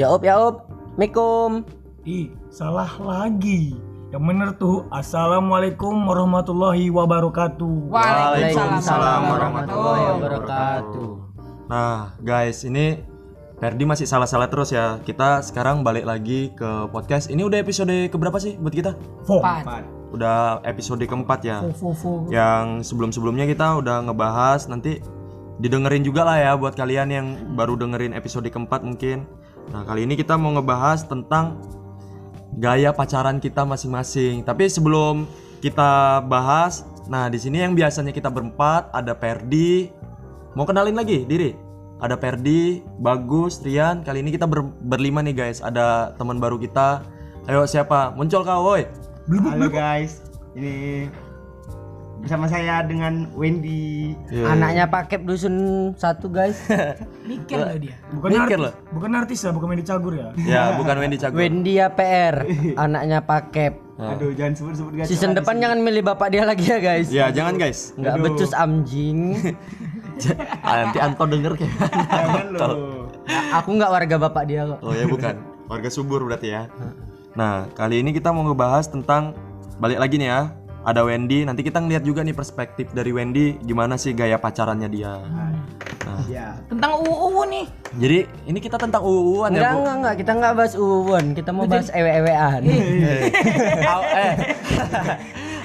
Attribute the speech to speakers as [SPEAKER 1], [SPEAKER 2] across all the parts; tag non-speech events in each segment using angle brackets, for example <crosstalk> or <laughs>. [SPEAKER 1] Yaup yaup, mikum.
[SPEAKER 2] Ih, salah lagi. Yang bener tuh, Assalamualaikum warahmatullahi wabarakatuh.
[SPEAKER 3] Waalaikumsalam
[SPEAKER 1] warahmatullahi
[SPEAKER 3] warahmatullahi
[SPEAKER 1] wabarakatuh.
[SPEAKER 3] Nah, guys, ini Ferdi masih salah-salah terus ya. Kita sekarang balik lagi ke podcast. Ini udah episode keberapa sih buat kita?
[SPEAKER 2] Fo.
[SPEAKER 3] Udah episode keempat ya.
[SPEAKER 2] Fo, fo, fo.
[SPEAKER 3] Yang sebelum-sebelumnya kita udah ngebahas nanti didengerin juga lah ya buat kalian yang baru dengerin episode keempat mungkin. Nah, kali ini kita mau ngebahas tentang gaya pacaran kita masing-masing. Tapi sebelum kita bahas, nah di sini yang biasanya kita berempat ada Perdi. Mau kenalin lagi diri? Ada Perdi, Bagus, Rian. Kali ini kita ber- berlima nih guys. Ada teman baru kita. Ayo siapa? Muncul kau, woi.
[SPEAKER 2] Blubub,
[SPEAKER 4] Halo guys, ini bersama saya dengan Wendy.
[SPEAKER 1] Anaknya paket dusun satu
[SPEAKER 3] <laughs>
[SPEAKER 1] guys.
[SPEAKER 2] Mikir lah dia. Bukan
[SPEAKER 3] Mikir
[SPEAKER 2] artis,
[SPEAKER 3] loh.
[SPEAKER 2] bukan artis ya, bukan main di cagur ya.
[SPEAKER 3] Ya, bukan Wendy Cagur.
[SPEAKER 1] Wendy APR, anaknya paket.
[SPEAKER 4] Aduh, jangan sebut-sebut guys.
[SPEAKER 1] Season depan jangan milih bapak dia lagi ya guys.
[SPEAKER 3] Ya, jangan guys.
[SPEAKER 1] Nggak becus amjing.
[SPEAKER 3] <laughs> Ah, Nanti Anto denger kayak.
[SPEAKER 4] Jangan loh.
[SPEAKER 1] Aku nggak warga bapak dia kok.
[SPEAKER 3] Oh ya bukan. Warga subur berarti ya. Nah, kali ini kita mau ngebahas tentang balik lagi nih ya. Ada Wendy, nanti kita ngeliat juga nih perspektif dari Wendy gimana sih gaya pacarannya dia.
[SPEAKER 4] Ya.
[SPEAKER 5] Tentang UU nih.
[SPEAKER 3] Jadi, ini kita tentang uuan
[SPEAKER 1] Enggak
[SPEAKER 3] ya, Bu. Iya.
[SPEAKER 1] enggak enggak, kita nggak bahas uwon, kita mau bahas ewe-ewean.
[SPEAKER 3] Aw- <laughs> eh.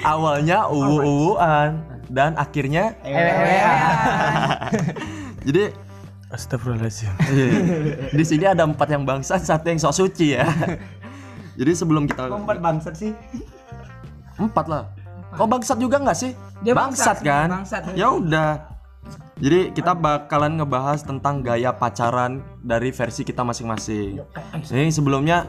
[SPEAKER 3] Awalnya uu-uuan dan akhirnya
[SPEAKER 4] eh,
[SPEAKER 3] Iya. jadi
[SPEAKER 2] Astagfirullahaladzim.
[SPEAKER 3] Iya. di sini ada empat yang bangsa, satu yang sok suci ya. <laughs> Jadi sebelum kita
[SPEAKER 4] Kok empat bangsat sih?
[SPEAKER 3] Empat lah. Kok bangsat juga nggak sih?
[SPEAKER 5] Dia bangsat,
[SPEAKER 3] bangsat, kan?
[SPEAKER 5] bangsat.
[SPEAKER 3] Ya udah. Jadi kita bakalan ngebahas tentang gaya pacaran dari versi kita masing-masing. Ini sebelumnya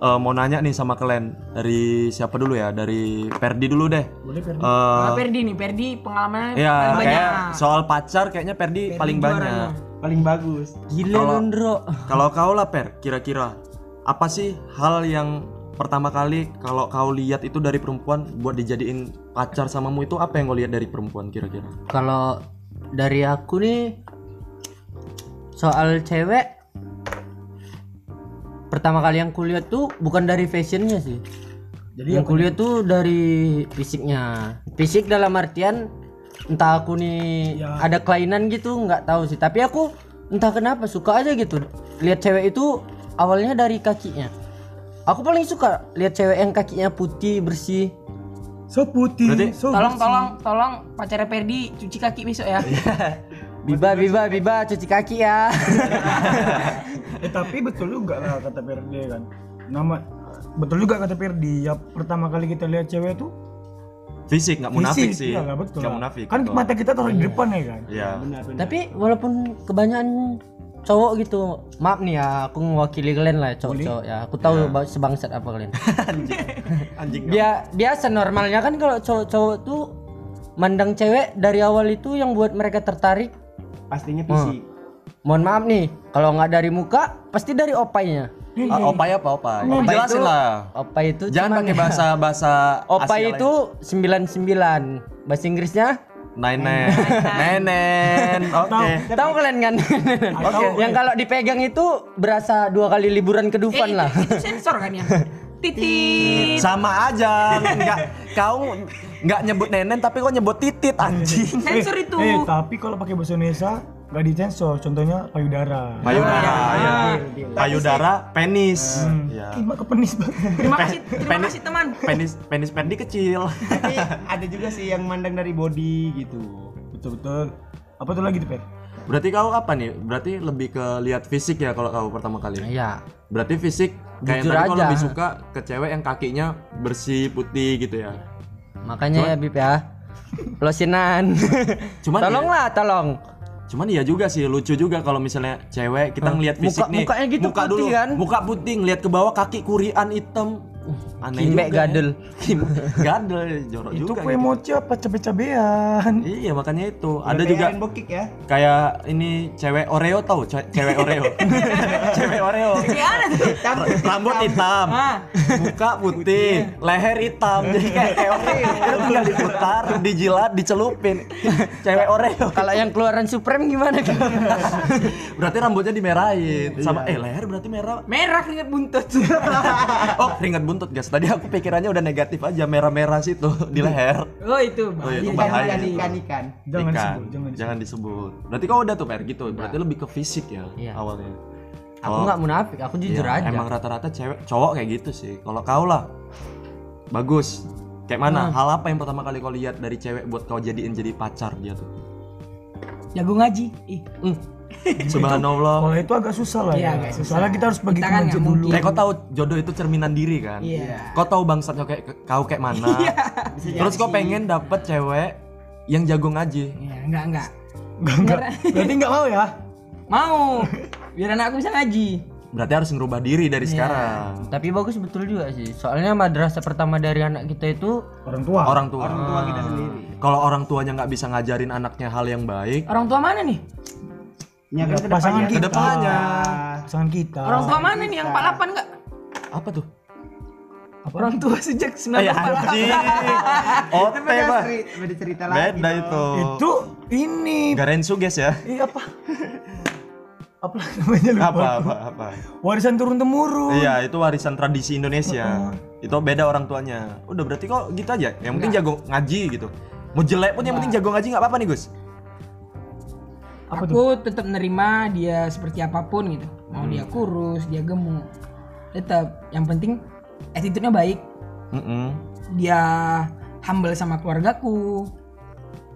[SPEAKER 3] eh, mau nanya nih sama kalian dari siapa dulu ya? Dari Perdi dulu deh.
[SPEAKER 2] Boleh Ferdi?
[SPEAKER 3] Eh,
[SPEAKER 5] Nah, Perdi nih, Perdi pengalamannya
[SPEAKER 3] ya
[SPEAKER 5] paling
[SPEAKER 3] kayak
[SPEAKER 5] banyak.
[SPEAKER 3] soal pacar kayaknya Perdi, paling
[SPEAKER 5] juara
[SPEAKER 3] banyak.
[SPEAKER 5] nih.
[SPEAKER 4] Paling bagus.
[SPEAKER 1] Gila
[SPEAKER 3] Kalau-
[SPEAKER 1] Londro.
[SPEAKER 3] Kalau kau lah Per, kira-kira apa sih hal yang pertama kali kalau kau lihat itu dari perempuan buat dijadiin pacar samamu itu apa yang kau lihat dari perempuan kira-kira?
[SPEAKER 1] Kalau dari aku nih soal cewek pertama kali yang kulihat tuh bukan dari fashionnya sih. Jadi yang kulihat tuh dari fisiknya. Fisik dalam artian entah aku nih
[SPEAKER 2] Ya.
[SPEAKER 1] ada kelainan gitu nggak tahu sih. Tapi aku entah kenapa suka aja gitu. Lihat cewek itu awalnya dari kakinya. Aku paling suka lihat cewek yang kakinya putih bersih.
[SPEAKER 2] So putih,
[SPEAKER 3] Berarti-
[SPEAKER 2] so
[SPEAKER 5] Tolong, tolong, tolong pacarnya Perdi cuci kaki besok ya.
[SPEAKER 1] Biba biba biba cuci kaki ya. <laughs>
[SPEAKER 2] Eh tapi betul juga lah kata Ferdi kan. Nama betul juga kata Ferdi ya pertama kali kita lihat cewek tuh
[SPEAKER 3] Fisik nggak munafik
[SPEAKER 2] fisik.
[SPEAKER 3] sih.
[SPEAKER 2] Iyalah, betul.
[SPEAKER 3] Nggak
[SPEAKER 2] lah.
[SPEAKER 3] munafik.
[SPEAKER 2] Kan
[SPEAKER 3] betul.
[SPEAKER 2] mata kita taruh di depan ya kan.
[SPEAKER 3] Iya.
[SPEAKER 1] Tapi walaupun kebanyakan cowok gitu, maaf nih ya, aku mewakili kalian lah cowok-cowok ya. Aku tahu ba- sebangsat apa kalian.
[SPEAKER 3] <laughs> Anjing.
[SPEAKER 1] Bia- biasa normalnya kan kalau cowok-cowok tuh mandang cewek dari awal itu yang buat mereka tertarik.
[SPEAKER 4] Pastinya fisik.
[SPEAKER 1] Mohon maaf nih, kalau nggak dari muka pasti dari opainya.
[SPEAKER 3] Ah, opai apa opai?
[SPEAKER 1] Opai
[SPEAKER 3] Jelasin
[SPEAKER 1] itu-
[SPEAKER 3] lah.
[SPEAKER 1] Opai itu cuman-
[SPEAKER 3] Jangan pakai bahasa bahasa
[SPEAKER 1] Opai itu 99. Bahasa Inggrisnya
[SPEAKER 3] Nenen. Nenen. Oke.
[SPEAKER 1] tahu kalian kan? <laughs> yang kalau dipegang itu berasa dua kali liburan ke Dufan lah.
[SPEAKER 5] Eh, Itu sensor kan ya.
[SPEAKER 3] <laughs>
[SPEAKER 5] Titit.
[SPEAKER 3] Sama aja. Nggak kau nggak nyebut nenen tapi kau nyebut titit anjing.
[SPEAKER 5] Sensor itu.
[SPEAKER 2] Eh, tapi kalau pakai bahasa Indonesia nggak disensor, contohnya payudara.
[SPEAKER 3] Payudara, ya.
[SPEAKER 1] Ah.
[SPEAKER 3] Payudara, penis.
[SPEAKER 1] Hmm.
[SPEAKER 3] Ya.
[SPEAKER 2] Ih, mak kepenis banget.
[SPEAKER 5] Terima kasih, terima kasih teman.
[SPEAKER 3] Penis penis Perdi kecil. <laughs>
[SPEAKER 4] Tapi ada juga sih yang mandang dari body gitu.
[SPEAKER 2] betul betul. Apa tuh lagi tuh Per?
[SPEAKER 3] Berarti kau apa nih? Berarti lebih ke lihat fisik ya kalau kau pertama kali.
[SPEAKER 1] Iya.
[SPEAKER 3] Berarti fisik kayak
[SPEAKER 1] Jujur
[SPEAKER 3] tadi kau
[SPEAKER 1] aja.
[SPEAKER 3] lebih suka ke cewek yang kakinya bersih putih gitu ya.
[SPEAKER 1] Makanya ya Bib ya. Losinan.
[SPEAKER 3] Cuman
[SPEAKER 1] <laughs>
[SPEAKER 3] ya,
[SPEAKER 1] Tolonglah, tolong.
[SPEAKER 3] Cuman iya juga sih, lucu juga kalau misalnya cewek kita ngelihat
[SPEAKER 1] Hmm. Muka-
[SPEAKER 3] fisik nih.
[SPEAKER 1] mukanya gitu
[SPEAKER 3] muka
[SPEAKER 1] putih
[SPEAKER 3] dulu,
[SPEAKER 1] kan?
[SPEAKER 3] Muka putih ngelihat ke bawah kaki kurian hitam. aneh
[SPEAKER 1] Kimek
[SPEAKER 3] juga ya.
[SPEAKER 1] gadel.
[SPEAKER 3] Kim- <laughs> gadel jorok
[SPEAKER 2] itu
[SPEAKER 3] juga
[SPEAKER 2] kue
[SPEAKER 3] gitu.
[SPEAKER 2] mochi apa cabe-cabean
[SPEAKER 3] iya makanya itu
[SPEAKER 4] Udah
[SPEAKER 3] ada
[SPEAKER 4] kayak
[SPEAKER 3] juga
[SPEAKER 4] Rainbow Kick ya
[SPEAKER 3] kayak ini cewek Oreo tau ce- cewek <laughs> Oreo cewek Oreo
[SPEAKER 5] Gimana Eh, tuh?
[SPEAKER 3] rambut hitam
[SPEAKER 5] Ah.
[SPEAKER 3] muka putih leher hitam jadi kayak kayak Oreo Itu tinggal diputar dijilat dicelupin cewek Oreo
[SPEAKER 1] Kalau yang keluaran Supreme gimana?
[SPEAKER 3] berarti rambutnya dimerahin sama eh leher berarti merah
[SPEAKER 5] Merah keringat buntut. <laughs>
[SPEAKER 3] oh keringat buntut guys tadi aku pikirannya udah negatif aja merah-merah situ di leher
[SPEAKER 5] oh itu.
[SPEAKER 3] Oh,
[SPEAKER 5] bahaya.
[SPEAKER 3] iya, itu
[SPEAKER 4] ikan
[SPEAKER 3] bahaya
[SPEAKER 4] ikan
[SPEAKER 3] itu.
[SPEAKER 4] ikan ikan
[SPEAKER 2] jangan disebut
[SPEAKER 3] Ikan.
[SPEAKER 2] jangan disebut
[SPEAKER 3] jangan disebut berarti kau udah tuh PR gitu berarti lebih ke fisik ya
[SPEAKER 1] Iya.
[SPEAKER 3] awalnya
[SPEAKER 1] aku
[SPEAKER 3] Oh,
[SPEAKER 1] nggak munafik, aku jujur
[SPEAKER 3] iya,
[SPEAKER 1] aja.
[SPEAKER 3] emang rata-rata cewek cowok kayak gitu sih kalau kau lah bagus kayak mana hal apa yang pertama kali kau lihat dari cewek buat kau jadiin jadi pacar dia tuh
[SPEAKER 5] Jago ngaji. Ih.
[SPEAKER 2] kalau
[SPEAKER 3] subhanallah
[SPEAKER 2] itu agak susah lah
[SPEAKER 5] Iya,
[SPEAKER 2] ya,
[SPEAKER 5] agak susah.
[SPEAKER 2] soalnya kita harus pergi
[SPEAKER 5] Kita
[SPEAKER 2] ke
[SPEAKER 5] kan
[SPEAKER 2] masjid
[SPEAKER 5] nggak
[SPEAKER 2] dulu
[SPEAKER 5] mungkin.
[SPEAKER 3] kayak kau tahu jodoh itu cerminan diri kan
[SPEAKER 5] Iya.
[SPEAKER 3] kau tahu bangsatnya kayak kau kayak mana terus kau pengen dapet cewek yang jago ngaji
[SPEAKER 5] Iya, enggak enggak.
[SPEAKER 2] Nggak, nggak. berarti nggak mau ya
[SPEAKER 5] Mau. Biar anakku bisa ngaji.
[SPEAKER 3] berarti harus ngerubah diri dari sekarang
[SPEAKER 1] Tapi bagus betul juga sih. Soalnya madrasah pertama dari anak kita itu
[SPEAKER 2] orang tua
[SPEAKER 3] orang tua
[SPEAKER 4] orang tua kita sendiri
[SPEAKER 3] kalau orang tuanya nggak bisa ngajarin anaknya hal yang baik
[SPEAKER 5] Orang tua mana nih?
[SPEAKER 4] ya kan ke
[SPEAKER 2] pasangan
[SPEAKER 4] depannya.
[SPEAKER 2] kita
[SPEAKER 3] Kedepannya.
[SPEAKER 2] pasangan kita
[SPEAKER 5] Orang tua mana nih yang 48 enggak?
[SPEAKER 3] apa tuh
[SPEAKER 5] Orang tua sejak
[SPEAKER 3] <laughs> Ayah
[SPEAKER 5] 1948.
[SPEAKER 3] anjing
[SPEAKER 4] Itu
[SPEAKER 3] ote
[SPEAKER 4] beda
[SPEAKER 3] bah
[SPEAKER 4] cerita, beda cerita lagi
[SPEAKER 3] beda
[SPEAKER 4] dong.
[SPEAKER 3] itu
[SPEAKER 2] itu ini
[SPEAKER 3] Garensu guys ya
[SPEAKER 2] eh,
[SPEAKER 5] <laughs>
[SPEAKER 2] apa apa namanya lupa
[SPEAKER 3] apa apa apa
[SPEAKER 2] warisan turun temurun
[SPEAKER 3] iya itu warisan tradisi Indonesia itu beda orang tuanya udah berarti kok gitu aja yang penting jago ngaji gitu mau jelek pun yang penting jago ngaji nggak apa-apa nih Gus
[SPEAKER 5] aku tetap nerima dia seperti apapun gitu mau dia kurus dia gemuk tetap yang penting attitude-nya baik
[SPEAKER 3] Mm-mm.
[SPEAKER 5] dia humble sama keluargaku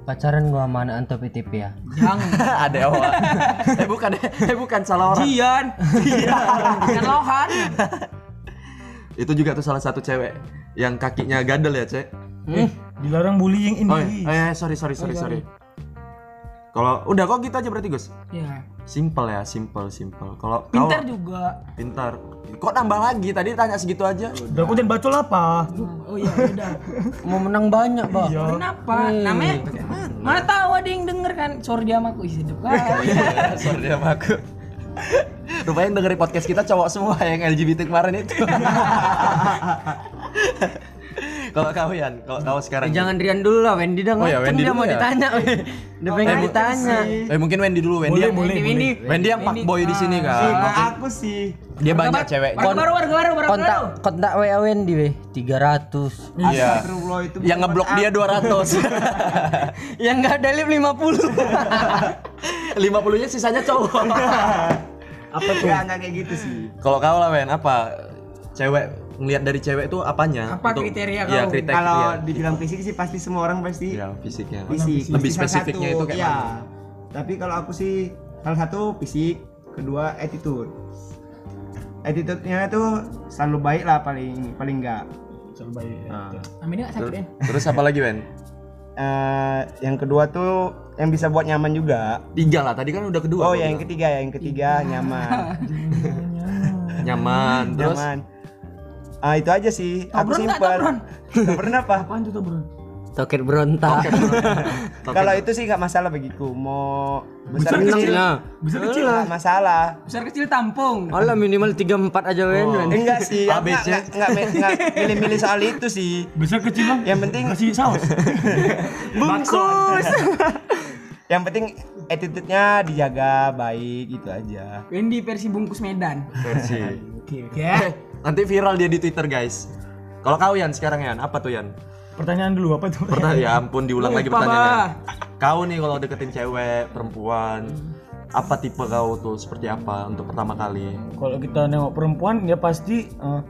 [SPEAKER 1] pacaran gua sama anak anto PTP ya.
[SPEAKER 5] jangan
[SPEAKER 3] ada awal <laughs> eh bukan eh bukan salah orang
[SPEAKER 5] Jian Jian Iya. Lohan
[SPEAKER 3] itu juga tuh salah satu cewek yang kakinya gadel ya cek
[SPEAKER 2] dilarang bullying ini
[SPEAKER 3] oh, iya. oh iya, sorry sorry sorry sorry kalau udah kok gitu aja berarti Gus
[SPEAKER 5] ya
[SPEAKER 3] simple ya simple simple kalau kau
[SPEAKER 5] pintar juga
[SPEAKER 3] pintar kok nambah lagi tadi tanya segitu aja
[SPEAKER 2] udah aku jangan bacol apa
[SPEAKER 5] oh iya udah
[SPEAKER 1] Mau menang banyak, Bah.
[SPEAKER 3] Iya.
[SPEAKER 5] kenapa namanya mana tahu ada yang denger kan sorry dia sama aku isi
[SPEAKER 3] iya, sorry sama aku <laughs> rupanya yang dengerin podcast kita cowok semua yang LGBT kemarin itu <laughs> kalau kau Yan kalau kau sekarang
[SPEAKER 1] Eh, jangan Rian dulu lah, Wendy dah
[SPEAKER 3] Oh iya,
[SPEAKER 1] ngaceng,
[SPEAKER 3] Wendy
[SPEAKER 1] dia
[SPEAKER 3] dulu
[SPEAKER 1] mau
[SPEAKER 3] ya.
[SPEAKER 1] ditanya. weh. Dia pengen ditanya.
[SPEAKER 3] eh mungkin Wendy dulu Wendy yang
[SPEAKER 2] boleh,
[SPEAKER 5] Windy
[SPEAKER 3] Wendy yang pak boy di sini kan
[SPEAKER 4] Ah, aku sih
[SPEAKER 3] dia banyak ceweknya
[SPEAKER 5] warga baru warga baru warga
[SPEAKER 1] Kontak
[SPEAKER 5] baru
[SPEAKER 1] kontak WA Wendy weh 300.
[SPEAKER 3] iya
[SPEAKER 4] Astagfirullah, itu
[SPEAKER 3] yang
[SPEAKER 4] bukan
[SPEAKER 3] ngeblok dia
[SPEAKER 4] <laughs>
[SPEAKER 3] 200
[SPEAKER 1] <laughs> Yang enggak ada lip 50.
[SPEAKER 3] 50 nya sisanya cowok
[SPEAKER 4] apa tuh nggak nggak kayak gitu sih
[SPEAKER 3] kalau kau lah Wen apa cewek ngelihat dari cewek itu apanya
[SPEAKER 5] Apa kriteria
[SPEAKER 3] Iya,
[SPEAKER 5] kau?
[SPEAKER 3] kriteria
[SPEAKER 4] kalau dibilang fisik sih pasti semua orang pasti
[SPEAKER 3] Iya, fisiknya
[SPEAKER 4] fisik
[SPEAKER 3] lebih
[SPEAKER 4] Pasti salah
[SPEAKER 3] spesifiknya
[SPEAKER 4] satu,
[SPEAKER 3] itu kayak
[SPEAKER 4] iya.
[SPEAKER 3] mana?
[SPEAKER 4] tapi kalau aku sih salah satu fisik kedua attitude attitude-nya itu selalu baik lah paling paling Nah, enggak
[SPEAKER 2] Coba
[SPEAKER 3] Iya,
[SPEAKER 2] ya.
[SPEAKER 5] Amin enggak sakit kan
[SPEAKER 3] Terus apa lagi Wen?
[SPEAKER 4] eh, yang kedua tuh yang bisa buat nyaman juga
[SPEAKER 3] Tiga lah, tadi kan udah kedua
[SPEAKER 4] oh
[SPEAKER 3] aku
[SPEAKER 4] ya yang
[SPEAKER 3] bilang.
[SPEAKER 4] ketiga ya yang ketiga nyaman
[SPEAKER 3] Nyaman, terus
[SPEAKER 4] nyaman ah itu aja sih aku
[SPEAKER 5] Tobron nggak,
[SPEAKER 4] simpel <laughs>
[SPEAKER 5] Tobron?
[SPEAKER 4] Tobron apa
[SPEAKER 2] Apaan tuh bro?
[SPEAKER 1] Toket berontak.
[SPEAKER 3] Tapi-
[SPEAKER 4] kalau itu sih nggak masalah bagiku mau besar
[SPEAKER 1] Seneng
[SPEAKER 4] kecil
[SPEAKER 3] Nah.
[SPEAKER 1] lah.
[SPEAKER 4] besar kecil nggak masalah
[SPEAKER 5] besar kecil tampung
[SPEAKER 1] Alah minimal 34 aja Wen. Wen.
[SPEAKER 4] enggak <laughs> sih aku
[SPEAKER 3] ABC.
[SPEAKER 4] nggak nggak nggak- nggak milih-milih soal itu sih
[SPEAKER 2] Besar kecil bang?
[SPEAKER 4] yang penting
[SPEAKER 2] Kasih saus.
[SPEAKER 4] bungkus yang penting attitude-nya dijaga baik gitu aja
[SPEAKER 5] Wendy versi bungkus Medan
[SPEAKER 3] Versi.
[SPEAKER 2] Oke. oke.
[SPEAKER 3] Eh, Nanti viral dia di Twitter, guys. Kalau kau Yan sekarang Yan, apa tuh Yan?
[SPEAKER 2] Pertanyaan dulu apa tuh?
[SPEAKER 3] Pertanyaan ya ampun diulang lagi
[SPEAKER 5] Lupa,
[SPEAKER 3] pertanyaannya. Kau nih kalau deketin cewek, perempuan, apa tipe kau tuh seperti apa untuk pertama kali?
[SPEAKER 2] Kalau kita nengok perempuan ya pasti eh,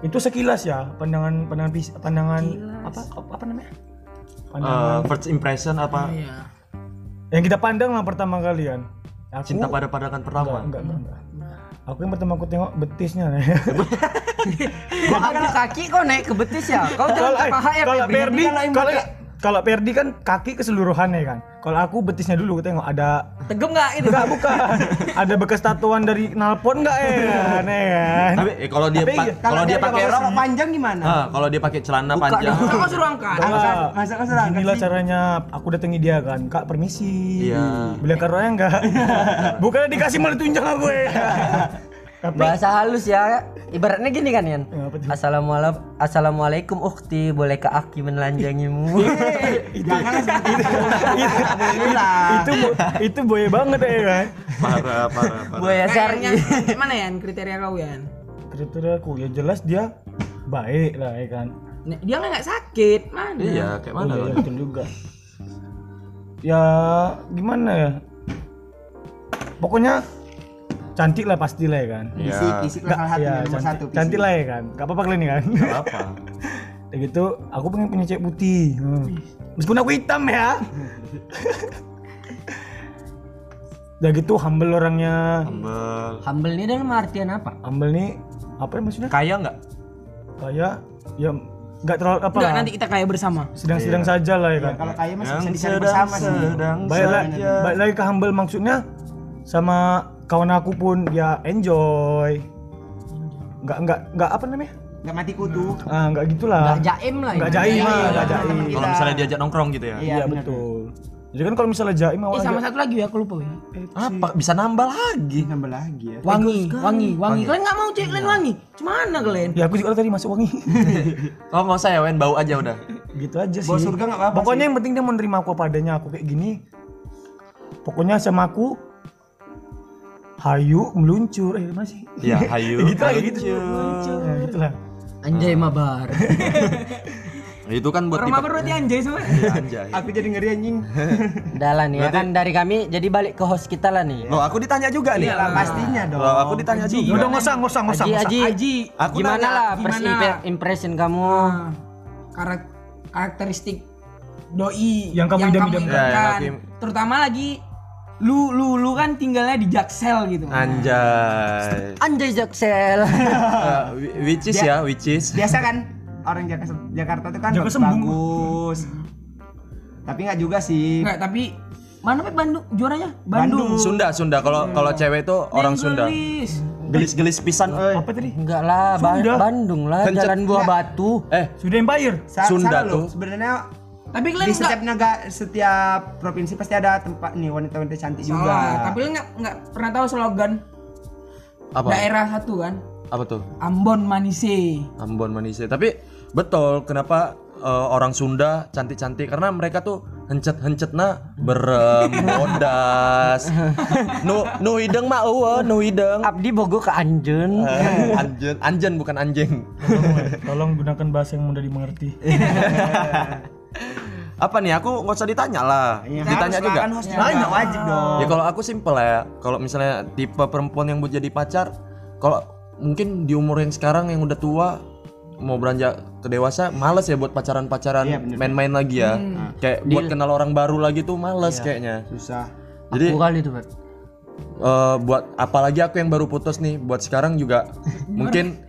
[SPEAKER 2] itu sekilas ya pandangan pandangan fis- pandangan apa apa namanya? Pandangan
[SPEAKER 3] Eh, first impression apa
[SPEAKER 5] iya
[SPEAKER 2] yang kita pandang lah pertama kalian. Aku
[SPEAKER 3] cinta pada pandangan pertama?
[SPEAKER 2] enggak, enggak, enggak. Aku yang pertama aku tengok betisnya. <laughs>
[SPEAKER 1] Kok ada kaki kok naik ke betis ya? Kau jangan
[SPEAKER 2] Kalau
[SPEAKER 1] ke paha ya.
[SPEAKER 2] kalau
[SPEAKER 1] Febri.
[SPEAKER 2] Ferdi kalau kalau Perdi kan kaki keseluruhannya kan. Kalau aku betisnya dulu tengok ada
[SPEAKER 5] Tegem nggak itu?
[SPEAKER 2] enggak bukan. <laughs> ada bekas tatuan dari nalpot enggak ya? kan, ya kan?
[SPEAKER 3] Tapi eh, kalau dia
[SPEAKER 2] Tapi
[SPEAKER 3] pa- kalau dia pakai
[SPEAKER 4] rok panjang gimana?
[SPEAKER 3] Ah, kalau dia pakai celana panjang.
[SPEAKER 5] Kok kau suruh angkat?
[SPEAKER 2] Enggak.
[SPEAKER 4] masa kau serang,
[SPEAKER 2] Ginilah
[SPEAKER 4] kan?
[SPEAKER 2] caranya aku datangi dia kan. Kak permisi.
[SPEAKER 3] Iya.
[SPEAKER 2] Bilang karena
[SPEAKER 4] <laughs>
[SPEAKER 2] enggak. Bukannya dikasih malah tunjang aku ya. Tapi
[SPEAKER 1] Bahasa halus ya. Ibaratnya gini kan, Yan.
[SPEAKER 2] Ya, apa tuh?
[SPEAKER 1] Assalamualaikum, Assalamualaikum ukhti, bolehkah aki <laughs> menelanjangimu?
[SPEAKER 4] Janganlah seperti itu. Alhamdulillah.
[SPEAKER 2] itu bo- itu boy banget ya kan.
[SPEAKER 3] <laughs> Parah, parah, parah.
[SPEAKER 1] Buaya
[SPEAKER 5] Kayaknya
[SPEAKER 1] sari.
[SPEAKER 5] <laughs> mana ya kriteria kau Yan?
[SPEAKER 2] Kriteria aku ya jelas dia baik lah ya kan.
[SPEAKER 5] Nah, Dia nggak sakit mana?
[SPEAKER 3] Iya, kayak mana?
[SPEAKER 2] Oh, iya,
[SPEAKER 3] loh.
[SPEAKER 2] betul juga. Ya gimana ya? Pokoknya cantik lah pasti lah ya kan.
[SPEAKER 3] Iya.
[SPEAKER 4] Fisik, fisik lah salah satu
[SPEAKER 2] ya,
[SPEAKER 4] nomor
[SPEAKER 2] cantik,
[SPEAKER 4] satu. fisik.
[SPEAKER 2] cantik lah ya kan. Gak apa-apa kalian kan.
[SPEAKER 3] Nggak apa?
[SPEAKER 2] Kayak gitu, aku pengen punya cewek putih. Hmm. Meskipun aku hitam ya. Udah gitu humble orangnya.
[SPEAKER 3] Humble.
[SPEAKER 1] Humble ini dalam artian apa?
[SPEAKER 2] Humble nih apa ya maksudnya?
[SPEAKER 3] Kaya nggak?
[SPEAKER 2] Kayak ya nggak terlalu apa
[SPEAKER 5] Udah
[SPEAKER 2] lah.
[SPEAKER 5] nanti kita kaya bersama.
[SPEAKER 2] Sedang-sedang saja lah ya
[SPEAKER 4] Ya,
[SPEAKER 2] kan.
[SPEAKER 4] kalau kaya masih
[SPEAKER 3] Yang
[SPEAKER 4] bisa dicari
[SPEAKER 3] sedang,
[SPEAKER 4] bersama sih.
[SPEAKER 3] sedang,
[SPEAKER 2] baik lagi
[SPEAKER 3] saja.
[SPEAKER 2] baik lagi ke humble maksudnya sama kawan aku pun ya enjoy nggak nggak nggak apa namanya
[SPEAKER 4] Enggak mati kutu.
[SPEAKER 2] ah nggak gitulah
[SPEAKER 1] Gak jaim
[SPEAKER 5] ya.
[SPEAKER 1] lah.
[SPEAKER 5] Eh,
[SPEAKER 2] nggak
[SPEAKER 1] ini.
[SPEAKER 2] jaim lah nggak
[SPEAKER 4] Iya,
[SPEAKER 2] jaim
[SPEAKER 3] Kalau misalnya diajak nongkrong gitu ya.
[SPEAKER 2] iya
[SPEAKER 4] benar.
[SPEAKER 2] betul jadi kan kalau misalnya jaim awal
[SPEAKER 5] Eh sama
[SPEAKER 2] aja-
[SPEAKER 5] satu lagi ya aku lupa. Wi.
[SPEAKER 3] Apa Ah, bisa nambah lagi?
[SPEAKER 4] Nambah lagi ya.
[SPEAKER 5] Wangi, wangi, Iya, wangi. Iya. Kalian nggak mau cek kalian wangi? Cemana kalian?
[SPEAKER 2] ya aku juga tadi masuk wangi
[SPEAKER 3] Oh nggak usah ya, Wen bau aja udah.
[SPEAKER 2] gitu aja sih
[SPEAKER 4] Bawa surga nggak apa-apa
[SPEAKER 2] pokoknya yang penting dia menerima aku apa adanya aku kayak gini pokoknya sama aku hayu meluncur eh masih
[SPEAKER 3] Ya, hayu.
[SPEAKER 2] gitu lah gitu
[SPEAKER 3] Lucu.
[SPEAKER 2] nah, gitu lah
[SPEAKER 1] Anjay mabar.
[SPEAKER 3] Itu kan buat
[SPEAKER 5] Rumah
[SPEAKER 3] tipe
[SPEAKER 5] berarti anjay semua.
[SPEAKER 3] Iya, anjay.
[SPEAKER 4] Aku jadi ngeri anjing.
[SPEAKER 1] Udah lah nih, ya kan dari kami jadi balik ke host kita lah nih.
[SPEAKER 3] Loh, aku ditanya juga nih.
[SPEAKER 4] Lah, Pastinya Iya dong.
[SPEAKER 3] Loh, aku ditanya juga.
[SPEAKER 2] udah ngosang ngosang ngosang
[SPEAKER 1] Aji, Aji,
[SPEAKER 5] Aji,
[SPEAKER 3] aku
[SPEAKER 1] gimana
[SPEAKER 3] nanya,
[SPEAKER 1] lah
[SPEAKER 5] gimana?
[SPEAKER 1] first impe- impression kamu?
[SPEAKER 5] Ah, karak- karakteristik doi
[SPEAKER 2] Yang kamu idam-idamkan.
[SPEAKER 5] idamkan.
[SPEAKER 3] Ya, yang aku-
[SPEAKER 5] Terutama lagi lu lu lu kan tinggalnya di Jaksel gitu.
[SPEAKER 2] Ah.
[SPEAKER 3] Anjay.
[SPEAKER 1] <laughs> Anjay Jaksel.
[SPEAKER 3] Eh, whi- which is ya, which is.
[SPEAKER 4] Biasa kan orang Jak- Jakarta itu kan
[SPEAKER 2] Jakarta sembung.
[SPEAKER 4] bagus. Tapi nggak juga sih.
[SPEAKER 5] Enggak, tapi mana Pep Bandung juaranya?
[SPEAKER 4] Bandung.
[SPEAKER 3] Sunda, Sunda. Kalau kalau cewek itu orang Sunda. Eh,
[SPEAKER 5] Gelis.
[SPEAKER 3] Gelis-gelis pisan.
[SPEAKER 2] apa tadi
[SPEAKER 1] Enggak lah, Ba-
[SPEAKER 2] Sunda.
[SPEAKER 1] Bandung lah,
[SPEAKER 3] Kencet.
[SPEAKER 1] Jalan Buah Batu.
[SPEAKER 3] Eh,
[SPEAKER 2] sudah empire
[SPEAKER 4] Sa-
[SPEAKER 3] Sunda
[SPEAKER 4] salah
[SPEAKER 3] tuh.
[SPEAKER 4] loh. Sebenarnya
[SPEAKER 5] Tapi kalian
[SPEAKER 4] di
[SPEAKER 5] enggak
[SPEAKER 4] setiap negara, setiap provinsi pasti ada tempat nih wanita-wanita cantik juga.
[SPEAKER 5] salah. Tapi kalian enggak enggak pernah tahu slogan
[SPEAKER 3] apa?
[SPEAKER 5] daerah satu kan?
[SPEAKER 3] Apa tuh?
[SPEAKER 5] Ambon Manise.
[SPEAKER 3] Ambon manisnya. Tapi betul kenapa eh, orang Sunda cantik-cantik karena mereka tuh hencet-hencetna berem, bodas. nu nu hideng mah eueuh, nu hideng.
[SPEAKER 1] Abdi bogo ke Anjen.
[SPEAKER 3] Eh, anjen, anjen bukan anjing.
[SPEAKER 2] Tolong gunakan bahasa yang mudah dimengerti.
[SPEAKER 4] Eh,
[SPEAKER 3] Apa nih aku nggak usah ditanya lah.
[SPEAKER 4] Ya,
[SPEAKER 3] ditanya
[SPEAKER 4] harus lah,
[SPEAKER 3] juga.
[SPEAKER 4] Kan host juga nggak wajib dong.
[SPEAKER 3] Ya kalau aku simpel ya. Kalau misalnya tipe perempuan yang buat jadi pacar, kalau mungkin di umur yang sekarang yang udah tua mau beranjak ke dewasa males ya buat pacaran-pacaran main-main lagi ya. Kayak buat kenal orang baru lagi tuh males kayaknya.
[SPEAKER 4] Susah.
[SPEAKER 3] Jadi
[SPEAKER 1] Aku kali tuh, Bang.
[SPEAKER 3] eh, buat apalagi aku yang baru putus nih, buat sekarang juga mungkin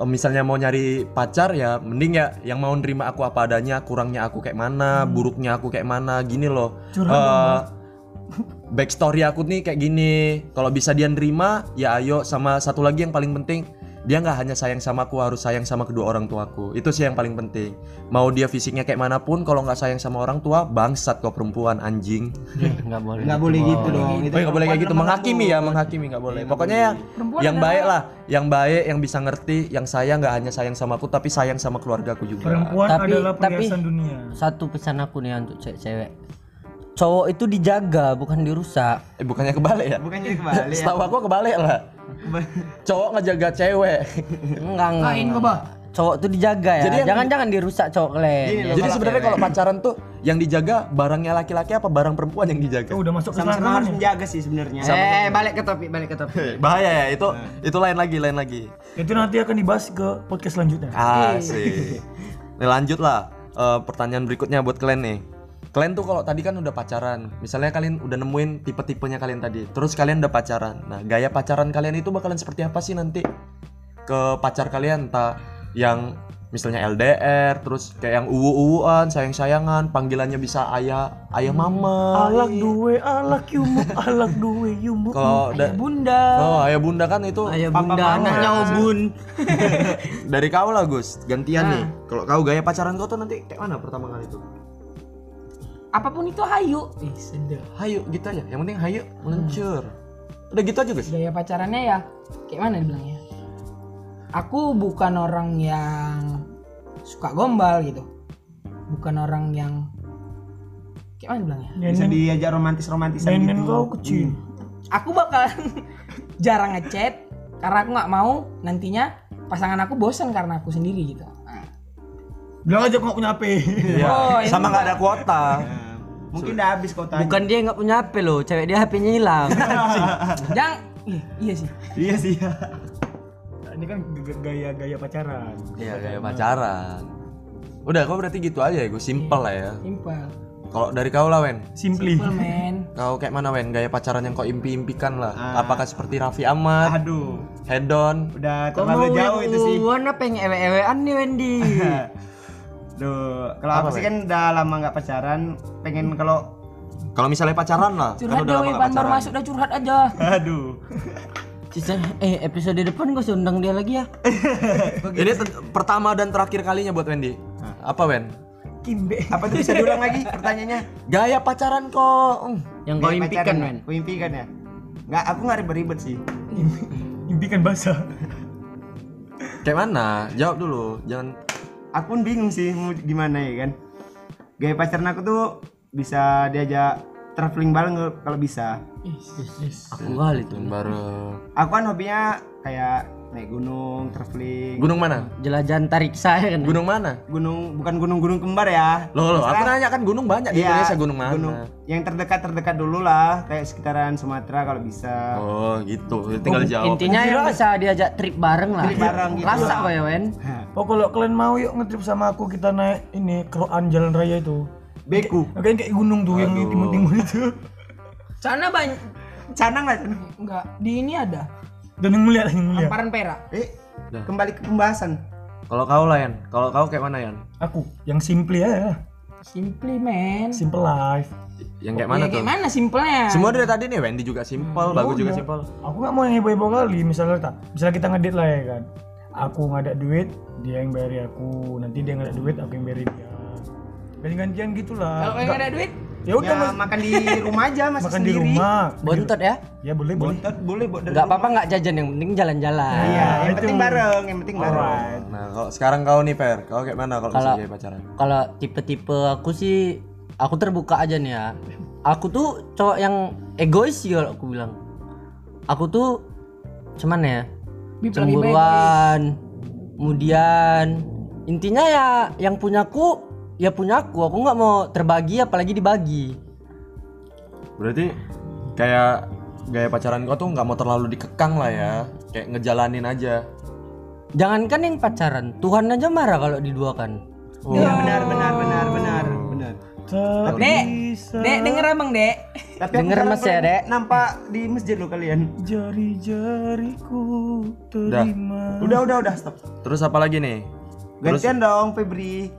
[SPEAKER 3] eh, misalnya mau nyari pacar ya mending ya yang mau nerima aku apa adanya, kurangnya aku kayak mana, buruknya aku kayak mana, gini loh. Eh, <laughs> backstory aku nih kayak gini. Kalau bisa dia nerima, ya ayo sama satu lagi yang paling penting dia nggak hanya sayang sama aku harus sayang sama kedua orang tuaku itu sih yang paling penting mau dia fisiknya kayak manapun kalau nggak sayang sama orang tua bangsat kok perempuan anjing
[SPEAKER 1] Eh, Enggak boleh.
[SPEAKER 4] Nggak boleh gitu dong.
[SPEAKER 3] Oh, nggak boleh kayak gitu menghakimi ya, menghakimi nggak boleh. Pokoknya ya yang baik lah, yang baik, yang bisa ngerti, yang sayang nggak hanya sayang sama aku tapi sayang sama keluarga aku juga.
[SPEAKER 2] Perempuan
[SPEAKER 1] Tapi-
[SPEAKER 2] adalah
[SPEAKER 1] tapi-
[SPEAKER 2] perhiasan dunia.
[SPEAKER 1] Satu pesan aku nih untuk cewek-cewek. Cowok itu dijaga, bukan dirusak.
[SPEAKER 3] Eh bukannya kebalik ya?
[SPEAKER 4] Bukannya kebalik. ya.
[SPEAKER 3] Setahu aku kebalik lah. Cowok ngejaga cewek.
[SPEAKER 1] Enggak,
[SPEAKER 3] Nah.
[SPEAKER 1] enggak.
[SPEAKER 5] Kain
[SPEAKER 1] enggak.
[SPEAKER 5] kau, Bah.
[SPEAKER 1] Cowok tuh dijaga ya.
[SPEAKER 3] Jadi yang- Iya,
[SPEAKER 1] Jangan-jangan dirusak cowok kalian.
[SPEAKER 4] Gini loh,
[SPEAKER 3] Jadi
[SPEAKER 4] kalau
[SPEAKER 3] sebenarnya
[SPEAKER 4] cewek.
[SPEAKER 3] kalau pacaran tuh yang dijaga barangnya laki-laki apa barang perempuan yang dijaga?
[SPEAKER 2] Oh, udah masuk ke
[SPEAKER 4] sama-sama
[SPEAKER 2] sana
[SPEAKER 4] harus
[SPEAKER 2] kan ya?
[SPEAKER 4] menjaga sih sebenarnya.
[SPEAKER 1] Eh, balik ke topik, balik ke topik.
[SPEAKER 3] Bahaya ya itu, itu lain lagi, lain lagi.
[SPEAKER 2] Itu nanti akan dibahas ke podcast selanjutnya.
[SPEAKER 3] Asik. Nih lanjut lah eh, pertanyaan berikutnya buat kalian nih. Kalian tuh kalau tadi kan udah pacaran, misalnya kalian udah nemuin tipe-tipenya kalian tadi, terus kalian udah pacaran. Nah, gaya pacaran kalian itu bakalan seperti apa sih nanti ke pacar kalian? Entah yang misalnya LDR terus kayak yang uwu-uwuan sayang-sayangan panggilannya bisa ayah ayah mama
[SPEAKER 2] Alak duwe, alak yumuk, alak duwe yumuk.
[SPEAKER 3] kalau da-
[SPEAKER 5] Bunda.
[SPEAKER 3] oh ayah bunda kan itu
[SPEAKER 1] Ayah
[SPEAKER 3] papa
[SPEAKER 1] bunda
[SPEAKER 3] mama.
[SPEAKER 1] anaknya obun.
[SPEAKER 3] <laughs>
[SPEAKER 1] Nah.
[SPEAKER 3] dari kau lah Gus gantian nih kalau kau gaya pacaran kau tuh nanti kayak mana pertama kali tuh
[SPEAKER 5] Apapun itu hayu. Ih, sedap.
[SPEAKER 3] hayu gitu aja yang penting hayu
[SPEAKER 1] Hmm.
[SPEAKER 3] meluncur udah gitu aja
[SPEAKER 1] Oh,
[SPEAKER 3] Gus
[SPEAKER 5] Gaya pacarannya ya kayak mana dibilangnya? Aku bukan orang yang suka gombal gitu. Bukan orang yang kayak mana dibilangnya?
[SPEAKER 4] bisa diajak romantis romantisan
[SPEAKER 2] Nenen
[SPEAKER 4] gitu
[SPEAKER 2] kau kecil.
[SPEAKER 5] Aku bakal <laughs> jarang ngechat karena aku nggak mau nantinya pasangan aku bosan karena aku sendiri gitu. Nah,
[SPEAKER 2] Bilang aja kau nggak punya HP.
[SPEAKER 3] Iya.
[SPEAKER 5] Oh, ini
[SPEAKER 3] sama nggak ada kuota
[SPEAKER 1] <laughs>
[SPEAKER 4] Nah, mungkin udah habis kota
[SPEAKER 1] Bukan dia nggak punya HP loh, cewek dia HP-nya hilang.
[SPEAKER 5] Jangan, Ih, iya sih.
[SPEAKER 4] iya sih
[SPEAKER 2] <laughs> Ini kan g- gaya-gaya pacaran.
[SPEAKER 3] iya gaya pacaran udah kau berarti gitu aja ya Gus simple lah ya
[SPEAKER 5] Simple,
[SPEAKER 3] kalau dari kau lah Wen
[SPEAKER 2] Simply.
[SPEAKER 5] simple
[SPEAKER 3] <laughs>
[SPEAKER 5] man.
[SPEAKER 3] Kau kayak mana Wen? Gaya pacaran yang kau impi-impikan lah. Apakah seperti Raffi Ahmad,
[SPEAKER 4] aduh
[SPEAKER 3] Hedon?
[SPEAKER 4] udah terlalu jauh itu Iya sih
[SPEAKER 1] Wana pengen ewe-ewean nih Wendy.
[SPEAKER 4] Duh, kalau aku sih kan udah lama nggak pacaran, pengen kalau <laughs>
[SPEAKER 3] Kalau misalnya pacaran lah, kan
[SPEAKER 5] Curhat
[SPEAKER 3] udah
[SPEAKER 5] deh,
[SPEAKER 3] lama
[SPEAKER 5] weh,
[SPEAKER 3] nggak
[SPEAKER 5] Bandar
[SPEAKER 3] pacaran.
[SPEAKER 5] masuk udah curhat aja.
[SPEAKER 4] aduh.
[SPEAKER 1] Sisa eh episode depan gue undang dia lagi ya.
[SPEAKER 3] Ini te- pertama dan terakhir kalinya buat Wendy. Apa Wen?
[SPEAKER 2] Kimbe.
[SPEAKER 4] Apa tuh bisa diulang lagi pertanyaannya?
[SPEAKER 3] Gaya pacaran kok. Hmm.
[SPEAKER 1] Yang kau
[SPEAKER 4] Kayak
[SPEAKER 1] impikan
[SPEAKER 4] pacaran,
[SPEAKER 1] Wen.
[SPEAKER 4] Kau impikan ya? Nggak, aku nggak ribet-ribet sih.
[SPEAKER 2] Impikan basah.
[SPEAKER 3] Kayak mana? Jawab dulu. Jangan
[SPEAKER 4] Aku pun bingung sih mau gimana ya kan. Gaya pacaran aku tuh bisa diajak traveling bareng kalau- kalau bisa.
[SPEAKER 1] Aku kali tuh.
[SPEAKER 3] dan baru.
[SPEAKER 4] Aku kan hobinya kayak naik gunung, traveling.
[SPEAKER 3] Gunung mana?
[SPEAKER 1] Jelajahan tarik saya kan.
[SPEAKER 3] Gunung mana?
[SPEAKER 4] Gunung bukan gunung-gunung kembar ya.
[SPEAKER 3] Loh, loh, aku nanya kan gunung banyak di
[SPEAKER 4] Iya,
[SPEAKER 3] Indonesia gunung mana?
[SPEAKER 4] yang terdekat-terdekat dulu lah, kayak sekitaran Sumatera kalau bisa.
[SPEAKER 3] Oh, gitu. Tinggal jawab.
[SPEAKER 1] Intinya yang bisa diajak trip bareng lah.
[SPEAKER 4] Trip bareng gitu.
[SPEAKER 1] Rasa apa ya Wen?
[SPEAKER 2] <laughs> Oh kalau kalian mau yuk ngetrip sama aku kita naik ini keroan jalan raya itu.
[SPEAKER 4] Beku.
[SPEAKER 2] Oke kayak gunung tuh yang timun-timun itu.
[SPEAKER 5] Sana banyak
[SPEAKER 4] Canang lah, canang.
[SPEAKER 5] enggak di ini ada
[SPEAKER 2] Dan yang mulia, yang
[SPEAKER 3] Iya.
[SPEAKER 2] mulia.
[SPEAKER 5] lemparan perak.
[SPEAKER 4] Eh, kembali ke pembahasan.
[SPEAKER 3] Kalau kau lah, Yan. Kalau kau kayak mana, Yan?
[SPEAKER 2] Aku yang simply ya,
[SPEAKER 5] Simply man.
[SPEAKER 2] simple life.
[SPEAKER 3] Yang kayak mana Hmm. Oh, iya.
[SPEAKER 5] Ya,
[SPEAKER 3] tuh?
[SPEAKER 5] kayak mana simpelnya?
[SPEAKER 3] Semua dari tadi nih Wendy juga simple, bagus juga simple.
[SPEAKER 2] Aku nggak mau yang heboh-heboh kali. Misalnya tak, misalnya kita ngedit lah ya kan. Aku ngada duit, dia yang bayar aku. Nanti dia ngada duit, aku yang bayar dia. Ganti-gantian gitulah.
[SPEAKER 5] Kalau yang
[SPEAKER 2] Nggak-
[SPEAKER 5] ada duit,
[SPEAKER 2] Ya udah
[SPEAKER 4] Ya,
[SPEAKER 2] mas,
[SPEAKER 4] makan di rumah aja masak
[SPEAKER 2] makan di
[SPEAKER 4] sendiri.
[SPEAKER 2] rumah.
[SPEAKER 1] Bontot ya.
[SPEAKER 2] Ya boleh boleh.
[SPEAKER 4] Bontot boleh buat dari
[SPEAKER 1] Enggak apa-apa enggak jajan yang penting jalan-jalan.
[SPEAKER 4] Iya, yang penting bareng, yang penting bareng.
[SPEAKER 3] Nah, kalau sekarang kau nih Per, kau kayak mana kalau misalnya jadi pacaran?
[SPEAKER 1] Kalau tipe-tipe aku sih aku terbuka aja nih ya. Aku tuh cowok yang egois sih kalau aku bilang. Aku tuh cuman ya
[SPEAKER 5] Bib lagi
[SPEAKER 1] cemburuan. Kemudian intinya ya yang punyaku ya punyaku. Aku nggak mau terbagi apalagi dibagi.
[SPEAKER 3] Berarti kayak gaya pacaran kau tuh nggak mau terlalu dikekang lah ya, kayak ngejalanin aja.
[SPEAKER 1] Jangankan yang pacaran, Tuhan aja marah kalau diduakan.
[SPEAKER 4] Iya, benar benar benar benar benar.
[SPEAKER 2] Ter-
[SPEAKER 5] Dek, Dek denger Abang, Dek.
[SPEAKER 4] Tapi
[SPEAKER 1] Denger
[SPEAKER 4] aku
[SPEAKER 1] Mas ya,
[SPEAKER 4] jarang
[SPEAKER 1] Dek.
[SPEAKER 4] Nampak di masjid lo kalian.
[SPEAKER 2] Jari-jariku
[SPEAKER 3] Udah.
[SPEAKER 2] terima.
[SPEAKER 4] Udah udah udah stop.
[SPEAKER 3] Terus apa lagi nih?
[SPEAKER 4] Gantian dong Febri.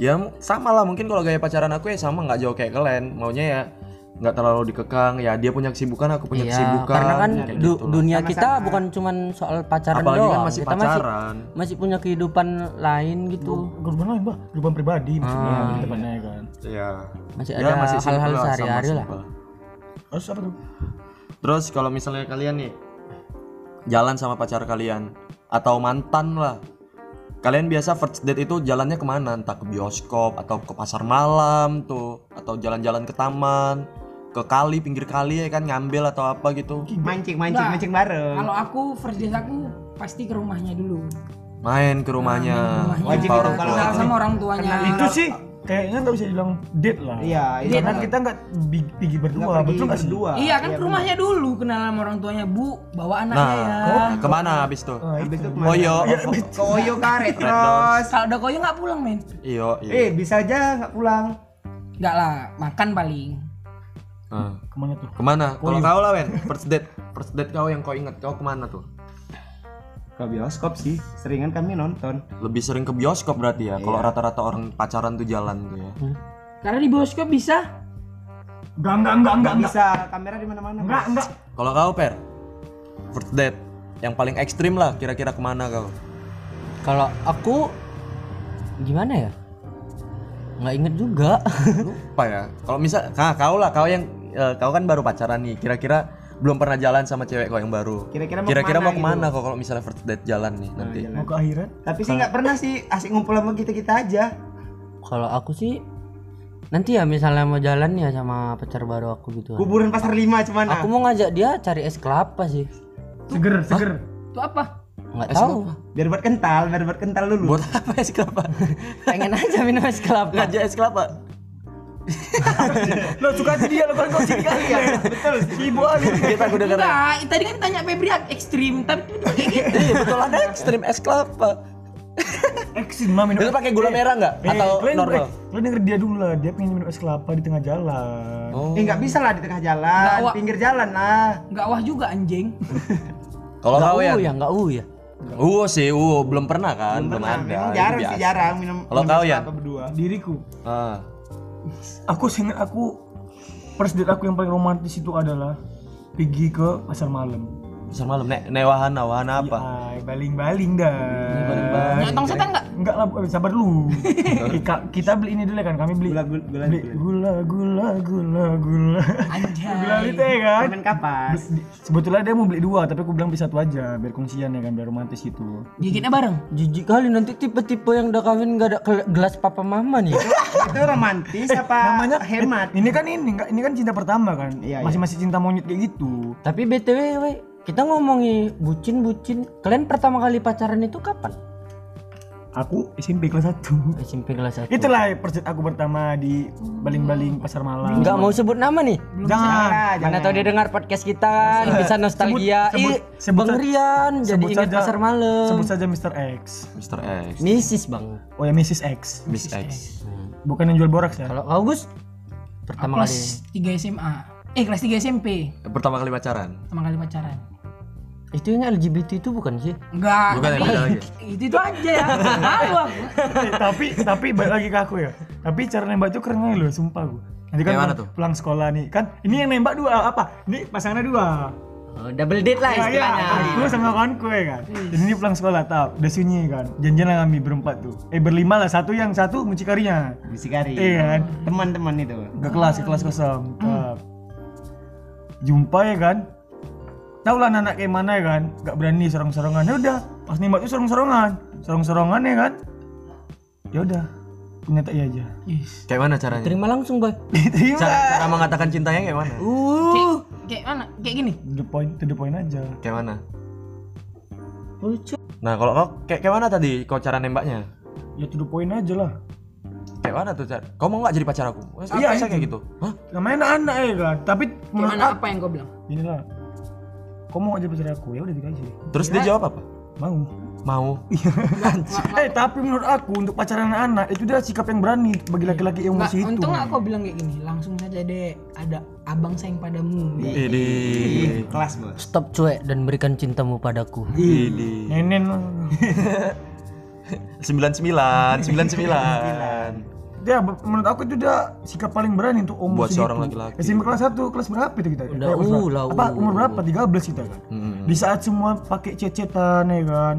[SPEAKER 3] Ya m- sama lah mungkin kalau gaya pacaran aku ya sama nggak jauh kayak kalian. Maunya ya nggak terlalu dikekang. Ya dia punya kesibukan, aku punya
[SPEAKER 1] Iya,
[SPEAKER 3] kesibukan.
[SPEAKER 1] karena kan
[SPEAKER 3] kayak
[SPEAKER 1] du-
[SPEAKER 3] gitu lah.
[SPEAKER 1] dunia kita bukan cuman soal pacaran
[SPEAKER 3] Apalagi
[SPEAKER 1] doang.
[SPEAKER 3] kan masih
[SPEAKER 1] kita
[SPEAKER 3] pacaran.
[SPEAKER 1] masih masih punya kehidupan lain gitu.
[SPEAKER 2] Kehidupan lain bah, kehidupan pribadi maksudnya depannya kan.
[SPEAKER 3] Iya.
[SPEAKER 1] Masih
[SPEAKER 3] Ya,
[SPEAKER 1] ada
[SPEAKER 3] simple
[SPEAKER 1] hal-hal
[SPEAKER 3] lah, sama
[SPEAKER 1] sehari-hari lah.
[SPEAKER 3] simple.
[SPEAKER 2] Terus apa tuh?
[SPEAKER 3] Terus kalau misalnya kalian nih jalan sama pacar kalian atau mantan lah, kalian biasa first date itu jalannya kemana? Entah ke bioskop atau ke pasar malam tuh, atau jalan-jalan ke taman, ke kali pinggir kali ya kan ngambil atau apa gitu,
[SPEAKER 4] Mancing mancing mancing bareng.
[SPEAKER 5] Kalau aku first date aku pasti ke rumahnya dulu.
[SPEAKER 3] main ke rumahnya.
[SPEAKER 4] Ah, Wajib
[SPEAKER 3] jumpa
[SPEAKER 4] itu
[SPEAKER 3] orang
[SPEAKER 4] kalau
[SPEAKER 3] tua.
[SPEAKER 5] Kenal sama orang tuanya.
[SPEAKER 2] Nah, Itu sih kayaknya nggak bisa dibilang date lah.
[SPEAKER 4] Iya, iya.
[SPEAKER 2] Karena kan kita nggak bi- pergi berdua,
[SPEAKER 4] Pergi
[SPEAKER 2] betul nggak sih?
[SPEAKER 4] berdua.
[SPEAKER 5] Iya kan ke rumahnya dulu kenal sama orang tuanya, Bu, bawa
[SPEAKER 3] Nah,
[SPEAKER 5] anaknya ya.
[SPEAKER 3] kemana habis tuh?
[SPEAKER 2] Ah,
[SPEAKER 3] Oh, iya.
[SPEAKER 4] Habis itu kemana? <laughs> Iya.
[SPEAKER 3] Moyo,
[SPEAKER 4] Koyo karet terus.
[SPEAKER 5] Kalau udah koyo nggak pulang, men.
[SPEAKER 3] iyo, iyo.
[SPEAKER 4] Eh, bisa aja nggak pulang.
[SPEAKER 5] Nggak lah, makan paling.
[SPEAKER 3] Nah,
[SPEAKER 2] Kemana tuh?
[SPEAKER 3] Kemana? Kalau kau lah Wen, first date, first date kau yang kau ingat kau kemana tuh?
[SPEAKER 4] ke bioskop sih seringan kami nonton
[SPEAKER 3] Lebih sering ke bioskop berarti ya.
[SPEAKER 4] Iya.
[SPEAKER 3] Kalau rata-rata orang pacaran tuh jalan tuh ya.
[SPEAKER 4] Hmm.
[SPEAKER 5] Karena di bioskop bisa.
[SPEAKER 2] Enggak, enggak, enggak, enggak,
[SPEAKER 4] nggak
[SPEAKER 2] enggak.
[SPEAKER 4] bisa kamera di mana-mana
[SPEAKER 2] Enggak,
[SPEAKER 4] Bos.
[SPEAKER 2] enggak.
[SPEAKER 3] Kalau kau per first date yang paling ekstrim lah kira-kira kemana
[SPEAKER 4] <laughs>
[SPEAKER 3] kau?
[SPEAKER 1] Kalau aku gimana ya? Nggak inget juga. <laughs>
[SPEAKER 3] Lupa ya. Kalau misal, nah, kau lah kau yang eh, kau kan baru pacaran nih. Kira-kira belum pernah jalan sama cewek kau yang baru.
[SPEAKER 4] Kira-kira mau
[SPEAKER 3] Kira-kira
[SPEAKER 4] kemana gitu? Oh, iya.
[SPEAKER 3] mau kemana, kau kalau misalnya first date jalan nih nanti?
[SPEAKER 2] Mau ke akhirat?
[SPEAKER 4] tapi sih nggak pernah sih asik ngumpul sama kita kita aja
[SPEAKER 1] Kalau aku sih nanti ya misalnya mau jalan ya sama pacar baru aku gitu. kan.
[SPEAKER 4] kuburan pasar lima cuman ah.
[SPEAKER 1] Aku mau ngajak dia cari es kelapa sih.
[SPEAKER 2] Seger, seger.
[SPEAKER 5] Itu apa?
[SPEAKER 1] Nggak tahu.
[SPEAKER 4] biar buat kental biar buat kental dulu
[SPEAKER 3] Buat apa es kelapa?
[SPEAKER 4] <laughs>
[SPEAKER 1] Pengen aja minum es kelapa.
[SPEAKER 3] Ngajak es kelapa.
[SPEAKER 2] Lo suka sih dia, lo kan kau sini kali ya. Betul. Ibu ah, Ali.
[SPEAKER 3] Oh, iya, Kita aku dengar.
[SPEAKER 5] Enggak, tadi kan tanya Febri ekstrim, tapi tiba-tiba kayak <laughs> gitu.
[SPEAKER 3] Iya betul ada ekstrim es kelapa.
[SPEAKER 2] Eksin mah minum.
[SPEAKER 3] Itu pakai gula merah nggak? Atau
[SPEAKER 2] kalian,
[SPEAKER 3] normal?
[SPEAKER 2] Eh, kalian denger dia dulu lah, dia pengen minum es kelapa di tengah jalan.
[SPEAKER 4] eh nggak bisa lah di tengah jalan
[SPEAKER 5] Nggak, Wak.
[SPEAKER 4] pinggir jalan lah
[SPEAKER 5] Enggak wah juga anjing.
[SPEAKER 3] Kalau
[SPEAKER 1] Nggak
[SPEAKER 3] kau
[SPEAKER 1] u
[SPEAKER 3] ya?
[SPEAKER 1] ya, nggak u ya.
[SPEAKER 3] Uwo sih, uwo belum pernah kan, belum,
[SPEAKER 4] Pernah,
[SPEAKER 3] ada.
[SPEAKER 4] memang
[SPEAKER 3] Ini
[SPEAKER 4] jarang sih
[SPEAKER 3] biasa.
[SPEAKER 4] jarang minum
[SPEAKER 3] Kalau
[SPEAKER 4] minum
[SPEAKER 3] kau, ya?
[SPEAKER 4] es
[SPEAKER 3] Yan?
[SPEAKER 4] kelapa berdua
[SPEAKER 2] Diriku.
[SPEAKER 3] Ah.
[SPEAKER 2] Aku seingat aku first date aku yang paling romantis itu adalah pergi ke pasar malam.
[SPEAKER 3] Pasar malam nek nek wahana, wahana apa?
[SPEAKER 2] Ay, baling-baling dah.
[SPEAKER 3] Baling-baling.
[SPEAKER 5] Nyotong setan enggak?
[SPEAKER 2] Enggak lah, eh, sabar dulu. Kita, kita beli ini dulu ya kan, kami beli
[SPEAKER 4] gula gula gula
[SPEAKER 2] beli gula gula gula gula. Gula
[SPEAKER 5] Anjay.
[SPEAKER 2] itu ya kan.
[SPEAKER 4] permen kapas
[SPEAKER 2] Sebetulnya dia mau beli dua, tapi aku bilang beli satu aja biar kongsian ya kan, biar romantis gitu.
[SPEAKER 5] Gigitnya bareng.
[SPEAKER 1] Jijik kali nanti tipe-tipe yang udah kawin nggak ada kel- gelas papa mama <laughs> nih.
[SPEAKER 4] itu romantis
[SPEAKER 3] <laughs>
[SPEAKER 4] apa hemat
[SPEAKER 2] Ini kan ini enggak ini kan cinta pertama kan.
[SPEAKER 4] Iya, iya.
[SPEAKER 2] Masih-masih cinta monyet kayak gitu.
[SPEAKER 1] Tapi btw, we, kita ngomongin bucin-bucin. Kalian pertama kali pacaran itu kapan?
[SPEAKER 2] Aku SMP kelas 1.
[SPEAKER 1] SMP kelas satu.
[SPEAKER 2] Itulah first date aku pertama di baling-baling pasar malam.
[SPEAKER 1] Nggak mau sebut nama nih.
[SPEAKER 2] Jangan.
[SPEAKER 1] Mana
[SPEAKER 4] Ah, jangan.
[SPEAKER 1] tahu dia dengar podcast kita, bisa nostalgia.
[SPEAKER 2] sebut-
[SPEAKER 1] Ih,
[SPEAKER 2] sebut
[SPEAKER 1] Bang
[SPEAKER 2] sa-
[SPEAKER 1] Rian jadi
[SPEAKER 2] sebut
[SPEAKER 1] ingat
[SPEAKER 2] saja-
[SPEAKER 1] pasar malam.
[SPEAKER 2] Sebut saja Mr. X.
[SPEAKER 3] Mr. X,
[SPEAKER 1] Misis Bang.
[SPEAKER 2] Oh ya Mrs. X.
[SPEAKER 3] Miss X.
[SPEAKER 2] Bukan yang jual boraks ya.
[SPEAKER 1] Kalau kau Gus pertama kali
[SPEAKER 5] Kelas 3 SMA. Eh, kelas 3 SMP.
[SPEAKER 3] Pertama kali pacaran.
[SPEAKER 5] Pertama kali pacaran.
[SPEAKER 1] itu yang LGBT itu bukan sih?
[SPEAKER 5] Enggak.
[SPEAKER 3] Bukan,
[SPEAKER 5] tapi
[SPEAKER 3] beda lagi.
[SPEAKER 5] Itu itu aja <laughs> ya. Malu aku.
[SPEAKER 2] Eh, <laughs> tapi tapi balik lagi ke aku ya. Tapi cara nembak itu keren aja loh, sumpah gue. Nanti kan
[SPEAKER 3] Kayak mana
[SPEAKER 2] pulang-
[SPEAKER 3] tuh?
[SPEAKER 2] pulang sekolah nih kan ini yang nembak dua apa? Ini pasangannya dua.
[SPEAKER 1] Oh, double date lah
[SPEAKER 2] Iya, iya,
[SPEAKER 1] istilahnya.
[SPEAKER 2] aku sama kawanku ya kan. Jadi ini pulang sekolah tau, udah sunyi kan. Janjian lah kami berempat tuh. Eh berlima lah, satu yang satu mucikarinya.
[SPEAKER 4] musikari
[SPEAKER 3] Eh.
[SPEAKER 2] Iya kan.
[SPEAKER 4] teman-teman itu
[SPEAKER 2] Ke kelas, ke kelas kosong. Tap. Jumpa ya kan. Tau lah anak kayak mana ya kan. Gak berani sorong-sorongan. Ya udah, pas nembak tuh sorong-sorongan. Sorong-sorongan ya kan. Ya udah, punya tak iya aja. <laughs> ya.
[SPEAKER 3] Kayak mana caranya?
[SPEAKER 1] Terima langsung, Boy.
[SPEAKER 2] Diterima.
[SPEAKER 3] Cara, cara mengatakan cintanya kayak mana?
[SPEAKER 1] Uh.
[SPEAKER 5] Kayak, kayak mana? Kayak gini.
[SPEAKER 2] To the point, to the point aja.
[SPEAKER 3] Kayak mana?
[SPEAKER 1] Lucu.
[SPEAKER 3] Nah, kalau kau kayak kayak mana tadi kau cara nembaknya?
[SPEAKER 2] Ya to the point aja lah.
[SPEAKER 3] Kayak mana tuh cara? Kau mau nggak jadi pacar aku? Wah,
[SPEAKER 2] Iya,
[SPEAKER 3] Bisa
[SPEAKER 2] itu.
[SPEAKER 3] kayak gitu. Hah?
[SPEAKER 2] Namanya anak-anak ya kan. Tapi
[SPEAKER 5] Kayak
[SPEAKER 2] menurut
[SPEAKER 5] mana
[SPEAKER 2] aku,
[SPEAKER 5] apa yang kau bilang?
[SPEAKER 2] inilah. Kau mau aja pacar aku? Ya udah dikasih.
[SPEAKER 3] Terus dia jawab apa?
[SPEAKER 2] Mau.
[SPEAKER 3] Mau.
[SPEAKER 2] Eh tapi menurut aku untuk pacaran anak itu dia sikap yang berani bagi laki-laki yang
[SPEAKER 5] Nggak,
[SPEAKER 2] masih itu.
[SPEAKER 5] untung aku bilang kayak gini. Langsung saja deh ada abang sayang padamu.
[SPEAKER 3] Ini. Eh.
[SPEAKER 4] Ih, kelas bos
[SPEAKER 1] Stop cuek dan berikan cintamu padaku.
[SPEAKER 2] Iya.
[SPEAKER 3] Ini.
[SPEAKER 2] Nenen lah.
[SPEAKER 3] 99, 99.
[SPEAKER 2] Dia be- Ya, menurut aku itu dia sikap paling berani untuk gitu. umur
[SPEAKER 3] Buat seorang laki-laki.
[SPEAKER 2] SMP kelas 1 kelas berapa itu kita?
[SPEAKER 1] Udah
[SPEAKER 2] Eh, kelas
[SPEAKER 1] U
[SPEAKER 2] berapa?
[SPEAKER 1] lah,
[SPEAKER 2] Apa
[SPEAKER 1] U.
[SPEAKER 2] umur berapa? 13 kita kan.
[SPEAKER 3] Hmm.
[SPEAKER 2] Di saat semua pakai cecetan ya kan.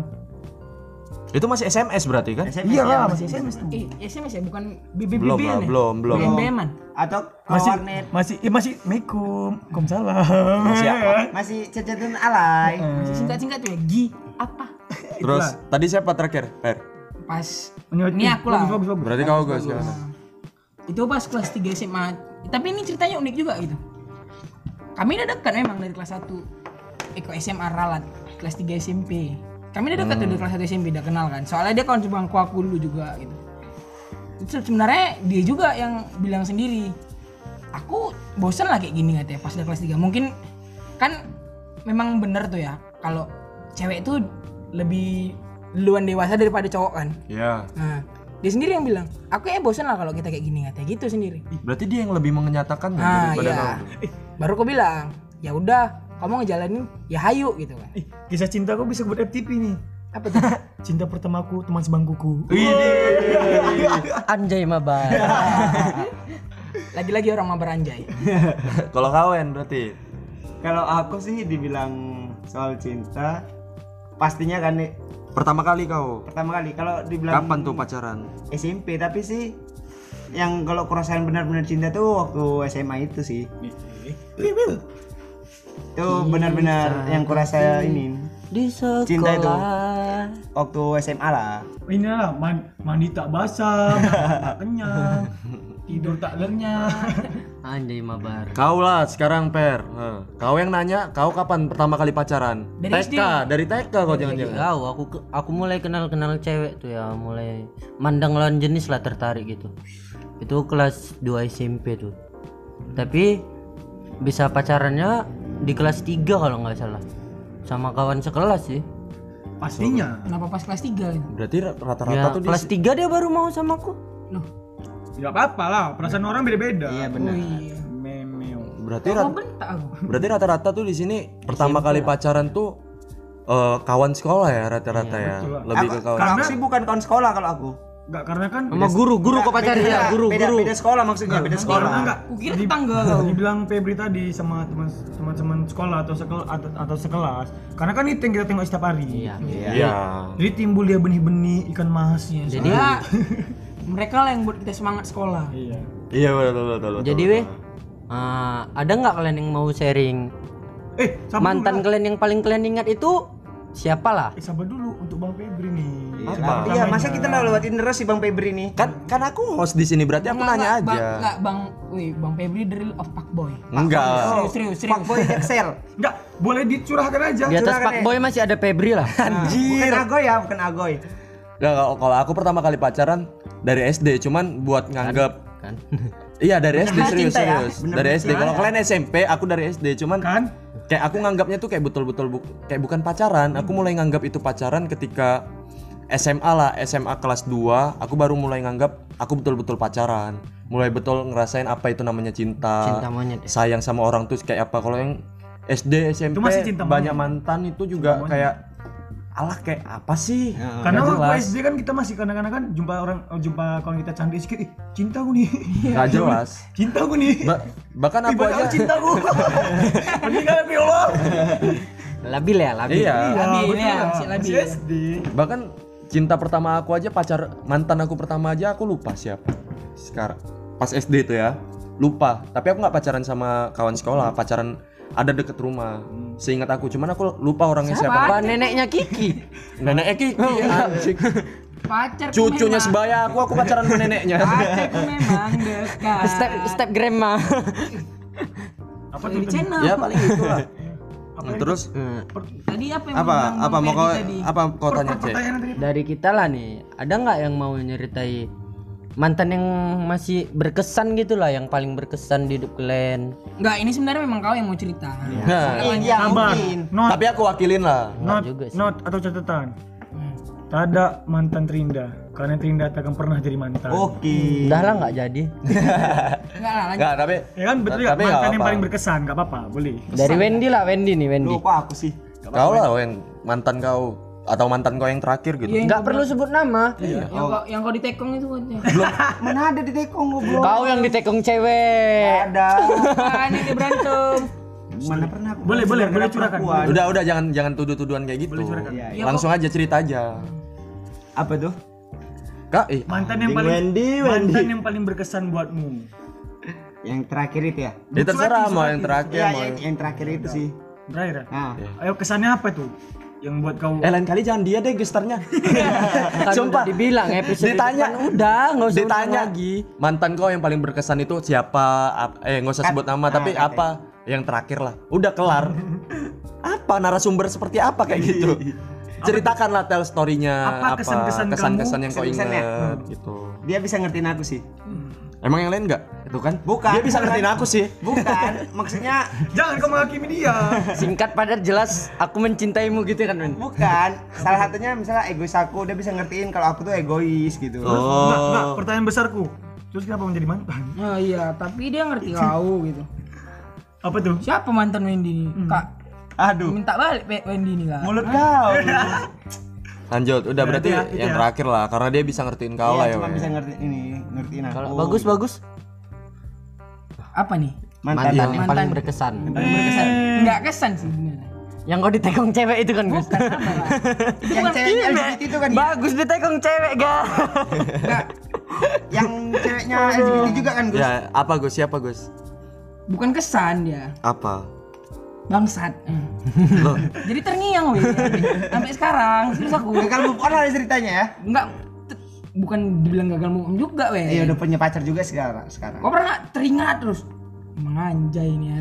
[SPEAKER 3] Itu masih SMS berarti kan?
[SPEAKER 4] SMS
[SPEAKER 2] Iya
[SPEAKER 4] ya,
[SPEAKER 2] lah masih SMS tuh.
[SPEAKER 5] Eh, SMS ya bukan BBB
[SPEAKER 3] Belum lah, belum, belum.
[SPEAKER 5] BBM-an.
[SPEAKER 4] atau ke
[SPEAKER 2] Masih
[SPEAKER 4] warnet
[SPEAKER 2] masih eh, masih Assalamualaikum. Waalaikumsalam.
[SPEAKER 3] Masih apa?
[SPEAKER 4] masih cecetan alay
[SPEAKER 5] Singkat-singkat tuh ya, Gi apa?
[SPEAKER 3] Terus tadi siapa terakhir? Per.
[SPEAKER 5] Pas
[SPEAKER 2] Menyoroti.
[SPEAKER 5] ini aku lah.
[SPEAKER 2] Bagus, bagus, bagus.
[SPEAKER 3] Berarti kau guys gimana?
[SPEAKER 5] Itu pas kelas 3 SMA. Tapi ini ceritanya unik juga gitu. Kami udah dekat memang dari kelas Eh, 1 Eko SMA Ralat, kelas 3 SMP. Kami udah dekat tuh
[SPEAKER 2] Hmm.
[SPEAKER 5] dari kelas 1 SMP, udah kenal kan. Soalnya dia kawan sebangku aku dulu juga gitu. Itu sebenarnya dia juga yang bilang sendiri. Aku bosen lah kayak gini katanya pas udah kelas 3. Mungkin kan memang bener tuh ya kalau cewek tuh lebih duluan dewasa daripada cowok kan.
[SPEAKER 3] Ya.
[SPEAKER 5] Nah, dia sendiri yang bilang, aku ya bosan lah kalau kita kayak gini katanya gitu sendiri.
[SPEAKER 3] Berarti dia yang lebih menyatakan
[SPEAKER 5] Nah,
[SPEAKER 3] ya daripada
[SPEAKER 5] iya.
[SPEAKER 3] kau.
[SPEAKER 5] Baru aku bilang, ya udah, kamu ngejalanin ya hayu gitu kan
[SPEAKER 2] Ih, kisah cinta aku bisa buat FTP nih.
[SPEAKER 5] apa tuh
[SPEAKER 2] Cinta pertamaku teman sebangkuku.
[SPEAKER 1] Anjay
[SPEAKER 2] Iya.
[SPEAKER 1] mabar.
[SPEAKER 5] lagi-lagi orang mau beranjay
[SPEAKER 3] Kalau kawan berarti
[SPEAKER 4] Kalau aku sih dibilang soal cinta, pastinya kan nih
[SPEAKER 3] pertama kali kau
[SPEAKER 4] pertama kali kalau dibilang
[SPEAKER 3] kapan tuh pacaran?
[SPEAKER 4] SMP tapi sih yang kalau kerasain benar-benar cinta tuh waktu SMA itu sih. Itu benar-benar yang kurasa ini
[SPEAKER 1] Di sekolah.
[SPEAKER 4] Cinta itu. waktu SMA lah.
[SPEAKER 2] Ini lah man- mandi tak basah, <laughs> makan tak kenyang, tidur tak <laughs> lenyap.
[SPEAKER 1] Anjay mabar.
[SPEAKER 3] Kau lah sekarang per. Heh. Kau yang nanya, kau kapan pertama kali pacaran?
[SPEAKER 5] Dari Iya,
[SPEAKER 3] TK, dari TK kau jangan-jangan.
[SPEAKER 1] Kau aku ke- aku mulai kenal-kenal cewek tuh ya, mulai mandang lawan jenis lah tertarik gitu. Itu kelas 2 SMP tuh. Tapi bisa pacarannya di kelas 3 kalau nggak salah. Sama kawan sekelas sih.
[SPEAKER 2] Pastinya.
[SPEAKER 5] kenapa pas kelas 3 gitu
[SPEAKER 3] Berarti rata-rata
[SPEAKER 1] Ya,
[SPEAKER 3] tuh di
[SPEAKER 1] kelas 3 dia baru mau sama aku.
[SPEAKER 5] loh
[SPEAKER 2] Tidak apa-apa lah, perasaan orang beda-beda.
[SPEAKER 5] oh
[SPEAKER 4] Iya benar.
[SPEAKER 5] iya
[SPEAKER 2] Memeo.
[SPEAKER 3] berarti
[SPEAKER 5] kok
[SPEAKER 3] rat-
[SPEAKER 5] bentak aku
[SPEAKER 3] berarti rata-rata tuh di sini pertama kali pacaran tuh eh, kawan sekolah ya rata-rata ya.
[SPEAKER 2] betul lah.
[SPEAKER 3] Lebih ke
[SPEAKER 4] Aku-
[SPEAKER 3] kawan.
[SPEAKER 4] kalau aku sih bukan kawan sekolah kalau aku.
[SPEAKER 2] Enggak karena kan
[SPEAKER 1] Sama guru, guru kok pacaran
[SPEAKER 4] Beda-
[SPEAKER 1] ya, guru,
[SPEAKER 4] beda,
[SPEAKER 1] guru.
[SPEAKER 4] Beda sekolah maksudnya, beda sekolah.
[SPEAKER 2] karena enggak
[SPEAKER 5] kukira tetangga
[SPEAKER 2] <laughs>
[SPEAKER 5] kau
[SPEAKER 2] dibilang Febri tadi sama teman teman-teman sekolah atau sekel atau, atau sekelas. Karena kan itu yang kita tengok setiap hari.
[SPEAKER 1] Iya.
[SPEAKER 3] Iya.
[SPEAKER 2] Jadi timbul dia benih-benih ikan mahasnya.
[SPEAKER 1] Jadi
[SPEAKER 5] ya <laughs> mereka lah yang buat kita semangat sekolah
[SPEAKER 2] Iya.
[SPEAKER 3] Iya betul betul betul. betul.
[SPEAKER 1] Jadi weh, eh, ada nggak kalian yang mau sharing
[SPEAKER 2] Eh, sabar
[SPEAKER 1] mantan
[SPEAKER 2] dulu.
[SPEAKER 1] kalian yang paling kalian ingat itu siapa lah?
[SPEAKER 2] Eh, sabar dulu untuk Bang Febri nih.
[SPEAKER 3] Apa?
[SPEAKER 4] Iya, masa kita lah lewatin terus si Bang Febri nih.
[SPEAKER 3] Kan kan aku host di sini berarti aku nanya
[SPEAKER 5] Nggak,
[SPEAKER 3] aja.
[SPEAKER 5] Bang, nggak, bang, wih, bang Febri drill of Pak Boy.
[SPEAKER 3] Enggak.
[SPEAKER 5] Serius, serius, serius.
[SPEAKER 4] Fuckboy Excel.
[SPEAKER 2] Enggak, boleh dicurahkan aja.
[SPEAKER 1] Di atas
[SPEAKER 4] curahkan
[SPEAKER 1] Pak
[SPEAKER 4] deh.
[SPEAKER 1] Boy masih ada Febri lah. Kan?
[SPEAKER 4] Bukan Agoy ya, bukan Agoy.
[SPEAKER 3] Nggak, kalau- kalau aku pertama kali pacaran dari SD cuman buat nganggap
[SPEAKER 1] kan.
[SPEAKER 3] Iya dari SD serius
[SPEAKER 4] cinta ya.
[SPEAKER 3] serius. Dari SD. Kalau kalian SMP, aku dari SD cuman
[SPEAKER 2] Kan?
[SPEAKER 3] kayak aku nganggapnya tuh kayak betul-betul bu- kayak bukan pacaran. Aku mulai nganggap itu pacaran ketika SMA lah, SMA kelas 2, aku baru mulai nganggap aku betul-betul pacaran. Mulai betul ngerasain apa itu namanya cinta.
[SPEAKER 1] Cinta monyet ya.
[SPEAKER 3] Sayang sama orang tuh kayak apa. Kalau yang SD, SMP
[SPEAKER 2] masih cinta
[SPEAKER 3] banyak mantan itu juga kayak alah kayak apa sih?
[SPEAKER 2] Karena
[SPEAKER 3] Nggak
[SPEAKER 2] waktu
[SPEAKER 3] jelas.
[SPEAKER 2] SD kan kita masih kadang-kadang kan jumpa orang oh, jumpa kawan kita cantik sedikit, ih, cinta aku nih.
[SPEAKER 3] Nggak jelas.
[SPEAKER 2] cinta aku nih.
[SPEAKER 3] Ba- bahkan aku
[SPEAKER 2] Ibadah
[SPEAKER 3] aja
[SPEAKER 2] cinta aku. Meninggal ya Allah.
[SPEAKER 1] Labil ya, labil.
[SPEAKER 3] Iya.
[SPEAKER 5] Labil,
[SPEAKER 2] Ah, betul
[SPEAKER 5] ya,
[SPEAKER 2] lah.
[SPEAKER 5] masih labil.
[SPEAKER 2] Masih SD.
[SPEAKER 3] bahkan cinta pertama aku aja pacar mantan aku pertama aja aku lupa siapa sekarang pas SD itu ya lupa tapi aku nggak pacaran sama kawan sekolah pacaran ada deket rumah seingat aku cuman aku lupa orangnya siapa,
[SPEAKER 1] Apa neneknya Kiki?
[SPEAKER 3] nenek Eki anjing.
[SPEAKER 5] Pacar
[SPEAKER 3] cucunya
[SPEAKER 5] memang,
[SPEAKER 3] sebaya aku aku pacaran sama neneknya
[SPEAKER 5] pacarku memang dekat.
[SPEAKER 1] step step grandma. <laughs>
[SPEAKER 2] Apa
[SPEAKER 5] Apa
[SPEAKER 2] tuh
[SPEAKER 5] di channel? gitu.
[SPEAKER 3] ya paling itulah terus
[SPEAKER 5] Tadi apa yang
[SPEAKER 3] apa
[SPEAKER 5] dibilang
[SPEAKER 3] apa
[SPEAKER 5] Bang Ferdi
[SPEAKER 3] mau kau
[SPEAKER 5] tadi?
[SPEAKER 3] apa kau tanya cek
[SPEAKER 2] pertanyaan tadi?
[SPEAKER 1] Dari kita lah nih, ada nggak yang mau nyeritai mantan yang masih berkesan gitu lah, yang paling berkesan di hidup kalian?
[SPEAKER 5] Enggak, ini sebenarnya memang kau yang mau cerita.
[SPEAKER 3] nah,
[SPEAKER 4] Iya,
[SPEAKER 2] Sabar.
[SPEAKER 4] mungkin.
[SPEAKER 2] Not,
[SPEAKER 3] tapi aku wakilin lah
[SPEAKER 2] not,
[SPEAKER 1] juga sih.
[SPEAKER 2] not atau catatan. Tak ada mantan Terinda, karena Terinda takkan pernah jadi mantan.
[SPEAKER 4] Oh. Oke.
[SPEAKER 1] Udah lah nggak jadi.
[SPEAKER 5] Enggak lah, lanjut.
[SPEAKER 3] nggak tapi
[SPEAKER 2] Ya kan betul ya,
[SPEAKER 3] Tapi nggak
[SPEAKER 2] mantan yang
[SPEAKER 3] apa-apa.
[SPEAKER 2] paling berkesan, nggak apa-apa, boleh.
[SPEAKER 1] Dari Wendy lah, Wendy nih Wendy.
[SPEAKER 4] Lu kok aku sih?
[SPEAKER 3] kau lah yang mantan kau atau mantan kau yang terakhir gitu
[SPEAKER 1] Nggak perlu sebut nama.
[SPEAKER 3] Iya,
[SPEAKER 5] Yang
[SPEAKER 3] oh.
[SPEAKER 5] kau yang kau ditekong itu aja.
[SPEAKER 4] Mana ada di tekong goblok?
[SPEAKER 1] Kau yang ditekung cewek.
[SPEAKER 4] Ada.
[SPEAKER 5] Bukan yang dia berantem.
[SPEAKER 4] Mana pernah aku?
[SPEAKER 2] Boleh, boleh, boleh curahkan.
[SPEAKER 4] curahkan.
[SPEAKER 3] Udah udah jangan jangan tuduh-tuduhan kayak gitu.
[SPEAKER 4] Iya,
[SPEAKER 5] iya.
[SPEAKER 3] Langsung aja cerita aja.
[SPEAKER 4] Apa tuh?
[SPEAKER 3] Kak, eh,
[SPEAKER 2] Mantan yang paling
[SPEAKER 4] Wendy,
[SPEAKER 2] mantan yang paling berkesan buatmu.
[SPEAKER 4] Yang terakhir itu ya?
[SPEAKER 3] ya terserah mau yang terakhir
[SPEAKER 4] Iya,
[SPEAKER 3] mau.
[SPEAKER 4] yang, yang terakhir itu sih.
[SPEAKER 2] Terakhir. ya?
[SPEAKER 4] Nah,
[SPEAKER 2] Ayo kesannya apa tuh? Yang buat kau
[SPEAKER 3] Eh lain kali jangan dia deh gesternya.
[SPEAKER 1] Kan udah
[SPEAKER 3] Sumpah.
[SPEAKER 1] dibilang episode
[SPEAKER 3] Ditanya.
[SPEAKER 1] depan udah nggak usah
[SPEAKER 3] Ditanya
[SPEAKER 1] ulang lagi.
[SPEAKER 3] mantan kau yang paling berkesan itu siapa? Ap- eh nggak usah sebut nama tapi apa yang terakhir lah. Udah kelar. apa narasumber seperti apa kayak gitu? Ceritakanlah tell story-nya
[SPEAKER 2] Apa kesan-kesan kamu,
[SPEAKER 3] kesan-kesan yang kau
[SPEAKER 4] kesan-kesannya?
[SPEAKER 3] ingat gitu.
[SPEAKER 4] dia bisa ngertiin aku sih.
[SPEAKER 3] Emang yang lain enggak? Itu kan?
[SPEAKER 4] Bukan,
[SPEAKER 3] Dia bisa
[SPEAKER 4] bukan.
[SPEAKER 3] ngertiin aku sih.
[SPEAKER 4] Bukan, maksudnya
[SPEAKER 2] Jangan kau menghakimi dia.
[SPEAKER 1] Singkat padat jelas, aku mencintaimu gitu kan Wendy.
[SPEAKER 4] bukan. Salah satunya misalnya egois aku, dia bisa ngertiin kalau aku tuh egois gitu.
[SPEAKER 2] Enggak, enggak, pertanyaan besarku. Terus kenapa menjadi mantan?
[SPEAKER 5] Oh,
[SPEAKER 3] <laughs>
[SPEAKER 5] Nah, iya, tapi dia ngerti kau gitu.
[SPEAKER 2] Apa tuh?
[SPEAKER 3] Hmm.
[SPEAKER 5] Siapa mantan Wendy ini? Kak,
[SPEAKER 4] Aduh,
[SPEAKER 5] minta balik Pe- Wendy nih lah
[SPEAKER 4] mulut kau.
[SPEAKER 3] Lanjut, udah berarti
[SPEAKER 2] itu ya, itu
[SPEAKER 3] yang
[SPEAKER 2] ya.
[SPEAKER 3] terakhir lah karena dia bisa ngertiin kau lah
[SPEAKER 4] Iya,
[SPEAKER 3] ya.
[SPEAKER 4] cuma
[SPEAKER 3] Wei.
[SPEAKER 4] bisa ngerti ini, ngertiin aku.
[SPEAKER 1] Kalau bagus bagus
[SPEAKER 5] apa nih
[SPEAKER 1] mantan,
[SPEAKER 4] mantan.
[SPEAKER 3] ya.
[SPEAKER 1] yang
[SPEAKER 5] Mantan.
[SPEAKER 1] paling berkesan.
[SPEAKER 4] Paling berkesan.
[SPEAKER 3] Eh.
[SPEAKER 5] nggak kesan sih bener.
[SPEAKER 1] Yang kau ditekong cewek itu kan guys.
[SPEAKER 4] Yang ceweknya LGBT itu kan,
[SPEAKER 1] bagus ditekong cewek guys.
[SPEAKER 4] yang
[SPEAKER 2] <laughs>
[SPEAKER 4] ceweknya LGBT juga kan, Gus.
[SPEAKER 3] Ya, apa Gus? Siapa Gus?
[SPEAKER 5] bukan kesan dia
[SPEAKER 3] Apa?
[SPEAKER 5] bangsat Hmm. jadi terngiang weh sampai sekarang serius aku
[SPEAKER 4] Gagal move on lah ceritanya ya.
[SPEAKER 5] nggak te- bukan dibilang gagal move on juga weh
[SPEAKER 4] Iya udah punya pacar juga sekarang sekarang.
[SPEAKER 5] kau pernah nggak teringat terus emang anjay ini ya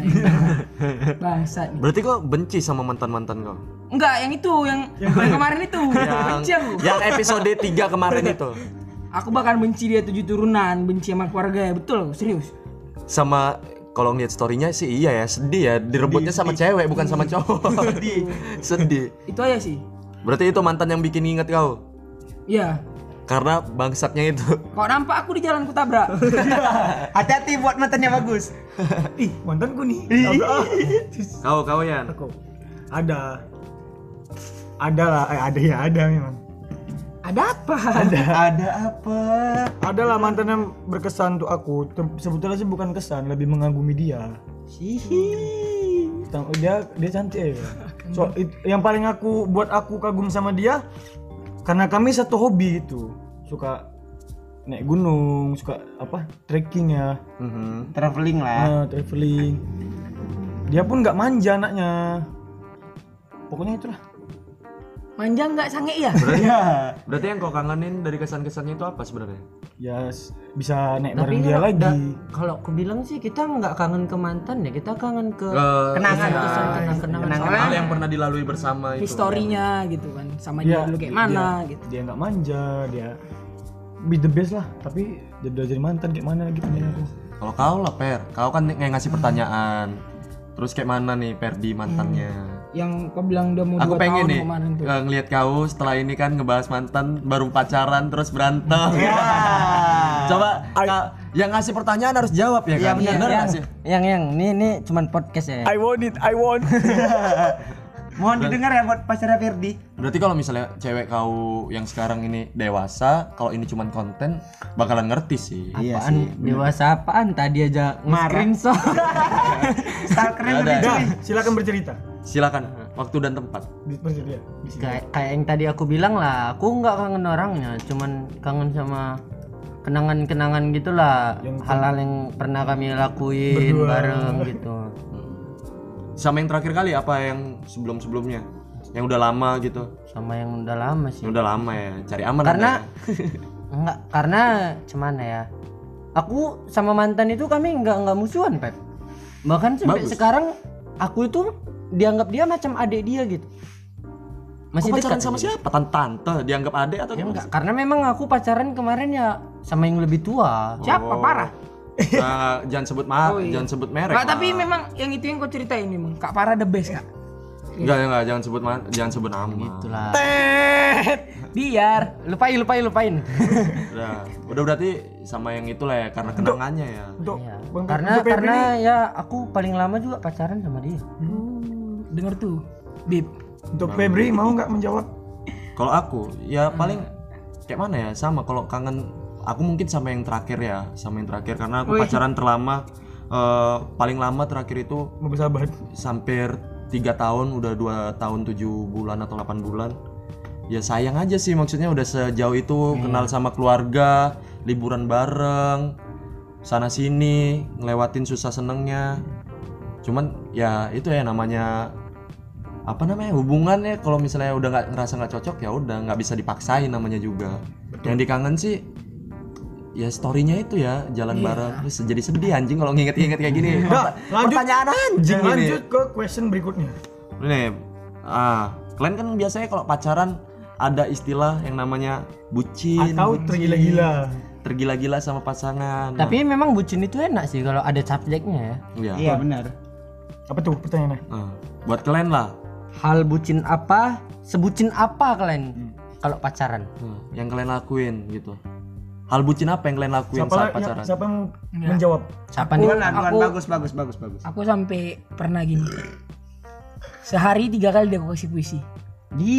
[SPEAKER 5] bangsat nih.
[SPEAKER 3] Berarti kok benci sama mantan-mantan kau?
[SPEAKER 5] Enggak, yang itu, yang, yang kemarin itu. benci
[SPEAKER 3] Yang, ya.
[SPEAKER 5] aku.
[SPEAKER 3] yang episode 3 kemarin itu.
[SPEAKER 5] Aku bahkan benci dia tujuh turunan, benci sama keluarga ya, betul, serius.
[SPEAKER 3] Sama kalau ngeliat storynya sih iya ya, sedih ya, direbutnya sama cewek bukan sama cowok. sedih. sedih.
[SPEAKER 5] Itu aja sih.
[SPEAKER 3] Berarti itu mantan yang bikin inget kau.
[SPEAKER 5] Iya.
[SPEAKER 3] Karena bangsatnya itu.
[SPEAKER 5] Kok nampak aku di jalan kutabrak?
[SPEAKER 1] <laughs>
[SPEAKER 4] Hati-hati buat mantannya bagus.
[SPEAKER 2] Ih, mantanku nih.
[SPEAKER 3] Kau, kau Yan.
[SPEAKER 2] Aku. Ada. Ada lah, eh, ada ya, ada memang.
[SPEAKER 5] Ada apa?
[SPEAKER 4] Ada apa?
[SPEAKER 2] Ada lah mantan yang berkesan untuk aku. Tem- Sebetulnya sih bukan kesan, lebih mengagumi dia. Tang- Dia dia cantik. Ya. So, it- yang paling aku buat aku kagum sama dia karena kami satu hobi gitu. Suka naik gunung, suka apa? trekking ya.
[SPEAKER 3] Mhm.
[SPEAKER 4] Traveling lah.
[SPEAKER 2] Ah, traveling. Dia pun nggak manja anaknya. Pokoknya itulah.
[SPEAKER 5] Manja nggak sange ya?
[SPEAKER 4] Ya.
[SPEAKER 3] Berarti yang kau kangenin dari kesan-kesannya itu apa sebenarnya?
[SPEAKER 2] <laughs> Ya s- bisa naik
[SPEAKER 1] Tapi
[SPEAKER 2] bareng dia
[SPEAKER 1] kalau
[SPEAKER 2] lagi.
[SPEAKER 1] da- kalau aku bilang sih kita nggak kangen ke mantan ya, kita kangen ke
[SPEAKER 4] Kenangan.
[SPEAKER 1] kesan
[SPEAKER 5] Ah, iya.
[SPEAKER 1] kenang-kenangan.
[SPEAKER 3] hal yang pernah dilalui bersama itu.
[SPEAKER 5] Historinya gitu kan, sama
[SPEAKER 2] Iya,
[SPEAKER 5] dia dulu kayak
[SPEAKER 2] dia-
[SPEAKER 5] mana gitu.
[SPEAKER 2] Dia nggak manja, dia be the best lah. Tapi dia udah jadi mantan kayak mana gitu nih aku.
[SPEAKER 3] Kalau kau lah Per, kau kan kayak ngasih pertanyaan. Terus kayak mana nih Perdi mantannya?
[SPEAKER 5] Yang kau bilang udah Hmm. mau
[SPEAKER 3] Aku
[SPEAKER 5] dua
[SPEAKER 3] pengen
[SPEAKER 5] tahun
[SPEAKER 3] nih
[SPEAKER 5] kemarin tuh.
[SPEAKER 3] eh, ngelihat kau setelah ini kan ngebahas mantan, baru pacaran terus berantem. Coba Kak, yang ngasih pertanyaan harus jawab ya kan?
[SPEAKER 5] Iya.
[SPEAKER 3] Bener nggak sih?
[SPEAKER 1] Yang yang ini ini cuman podcast ya.
[SPEAKER 2] I want it, I want.
[SPEAKER 4] Mohon didengar ya buat pacarnya Ferdi.
[SPEAKER 3] Berarti kalau misalnya cewek kau yang sekarang ini dewasa, kalau ini cuman konten bakalan ngerti sih.
[SPEAKER 1] apaan dewasa apaan tadi aja <laughs> nge-screenshot.
[SPEAKER 2] <laughs>
[SPEAKER 4] Stalkernya
[SPEAKER 3] Ada.
[SPEAKER 4] lebih
[SPEAKER 2] Dah,
[SPEAKER 4] cuy.
[SPEAKER 2] silakan bercerita.
[SPEAKER 3] Silakan waktu dan tempat.
[SPEAKER 2] Di- Bercerita. Di sini.
[SPEAKER 1] kayak kayak yang tadi aku bilang lah, aku nggak kangen orangnya, cuman kangen sama kenangan-kenangan gitulah
[SPEAKER 2] Yang-
[SPEAKER 1] hal-hal yang pernah kami lakuin
[SPEAKER 2] Berdua.
[SPEAKER 1] bareng gitu.
[SPEAKER 3] Sama yang terakhir kali apa yang sebelum-sebelumnya? Yang udah lama gitu.
[SPEAKER 1] Sama yang udah lama sih.
[SPEAKER 3] Yang udah lama ya, cari aman.
[SPEAKER 1] Karena-
[SPEAKER 3] Anda
[SPEAKER 1] <laughs>
[SPEAKER 3] ya.
[SPEAKER 1] Enggak, karena cuman ya. Aku sama mantan itu kami nggak nggak musuhan, Pep. Bahkan sampai
[SPEAKER 3] Bagus.
[SPEAKER 1] sekarang aku itu dianggap dia macam adik dia gitu. Masih
[SPEAKER 3] Kau
[SPEAKER 1] dekat
[SPEAKER 3] pacaran sama
[SPEAKER 1] gitu. Ya,
[SPEAKER 3] siapa? Tan- Tante, dianggap adik
[SPEAKER 5] Ya
[SPEAKER 3] atau gimana?
[SPEAKER 1] Enggak, karena memang aku pacaran kemarin ya sama yang lebih tua.
[SPEAKER 5] Siapa
[SPEAKER 3] <laughs>
[SPEAKER 5] parah?
[SPEAKER 3] Eh, Oh. jangan sebut
[SPEAKER 5] Oh,
[SPEAKER 3] maaf,
[SPEAKER 5] iya.
[SPEAKER 3] jangan sebut merek. Ah.
[SPEAKER 5] Nggak, tapi memang yang itu yang kau ceritain memang Kak Parah the best Kak.
[SPEAKER 3] Enggak, ya enggak, jangan sebut ma- jangan sebut nama.
[SPEAKER 1] Itulah.
[SPEAKER 5] Biar
[SPEAKER 1] Lupain, lupain, lupain.
[SPEAKER 3] Udah, udah berarti sama yang itulah ya karena kenangannya ya.
[SPEAKER 2] Untuk
[SPEAKER 1] Iya.
[SPEAKER 2] Bang-
[SPEAKER 1] Karena
[SPEAKER 2] untuk Febri
[SPEAKER 1] karena
[SPEAKER 2] nih,
[SPEAKER 1] ya aku paling lama juga pacaran sama dia.
[SPEAKER 5] denger tuh. Bib.
[SPEAKER 2] untuk Febri mau nggak menjawab?
[SPEAKER 3] Kalau aku ya
[SPEAKER 5] Hmm.
[SPEAKER 3] paling kayak mana ya? Sama kalau kangen aku mungkin sama yang terakhir ya, sama yang terakhir karena aku pacaran terlama eh, paling lama terakhir itu
[SPEAKER 2] Mau bersahabat.
[SPEAKER 3] sampai tiga tahun udah dua tahun 7 bulan atau 8 bulan ya sayang aja sih maksudnya udah sejauh itu
[SPEAKER 2] Iya.
[SPEAKER 3] kenal sama keluarga liburan bareng sana sini ngelewatin susah senengnya cuman ya itu ya namanya apa namanya hubungannya kalau misalnya udah nggak ngerasa nggak cocok ya udah nggak bisa dipaksain namanya juga yang dikangen sih ya storynya itu ya jalan bareng Terus jadi sedih anjing kalau nginget-nginget kayak gini
[SPEAKER 2] Iya. Nah, lanjut.
[SPEAKER 3] pertanyaan anjing ini
[SPEAKER 2] Lanjut ke question berikutnya.
[SPEAKER 3] Nih, ah, kalian kan biasanya kalau pacaran ada istilah yang namanya bucin,
[SPEAKER 2] Atau tergila-gila.
[SPEAKER 3] tergila-gila sama pasangan.
[SPEAKER 1] Tapi memang bucin itu enak sih kalau ada subjeknya ya.
[SPEAKER 3] ya.
[SPEAKER 4] Iya benar.
[SPEAKER 2] Apa tuh pertanyaannya?
[SPEAKER 3] Nah, buat kalian lah,
[SPEAKER 1] Hal bucin apa? Sebucin apa kalian kalau pacaran?
[SPEAKER 3] hmm, yang kalian lakuin gitu. Hal bucin apa yang kalian lakuin
[SPEAKER 2] Siapa,
[SPEAKER 3] saat
[SPEAKER 2] yang-
[SPEAKER 3] pacaran?
[SPEAKER 2] siapa yang menjawab?
[SPEAKER 1] Siapa nih?
[SPEAKER 4] Duluan, duluan
[SPEAKER 5] aku-
[SPEAKER 4] bagus bagus bagus bagus.
[SPEAKER 5] Aku sampai pernah gini. Sehari tiga kali dia aku kasih puisi.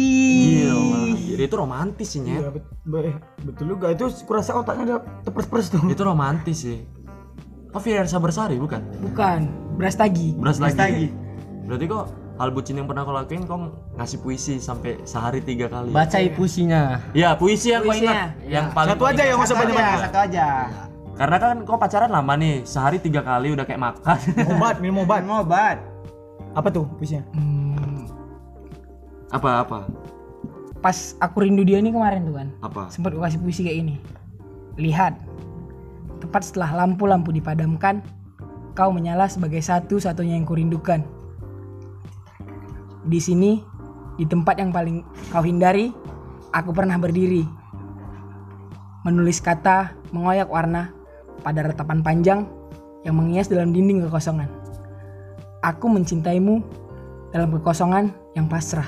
[SPEAKER 3] Gila. Jadi itu romantis sih, Nyet.
[SPEAKER 2] Iya, bet- be- betul juga itu kurasa otaknya udah tepers-pers <laughs> tuh.
[SPEAKER 3] Itu romantis sih. Kok Fiersa Bersari bukan?
[SPEAKER 5] Bukan, beras tagi.
[SPEAKER 3] Beras lagi.
[SPEAKER 4] lagi.
[SPEAKER 3] Berarti kok hal bucin yang pernah kau lakuin kau ngasih puisi sampai sehari tiga kali.
[SPEAKER 1] Baca puisinya.
[SPEAKER 3] Ya puisi yang kau ingat,
[SPEAKER 5] Puisinya,
[SPEAKER 3] yang paling
[SPEAKER 2] Satu aja yang
[SPEAKER 4] Satu
[SPEAKER 2] usah banyak-banyak.
[SPEAKER 4] aja, satu aja.
[SPEAKER 3] Karena kan kau pacaran lama nih, sehari tiga kali udah kayak makan. <laughs>
[SPEAKER 2] Obat,
[SPEAKER 4] <laughs>
[SPEAKER 2] minum obat.
[SPEAKER 4] Minum obat.
[SPEAKER 2] Apa tuh puisinya?
[SPEAKER 5] Hmm,
[SPEAKER 3] apa apa
[SPEAKER 5] pas aku rindu dia nih kemarin tuh kan.
[SPEAKER 3] apa?
[SPEAKER 5] Sempat aku kasih puisi kayak ini. Lihat. Tepat setelah lampu-lampu dipadamkan, kau menyala sebagai satu-satunya yang kurindukan. Di sini, di tempat yang paling kau hindari, aku pernah berdiri. Menulis kata, mengoyak warna pada retapan panjang yang menghias dalam dinding kekosongan. Aku mencintaimu dalam kekosongan yang pasrah.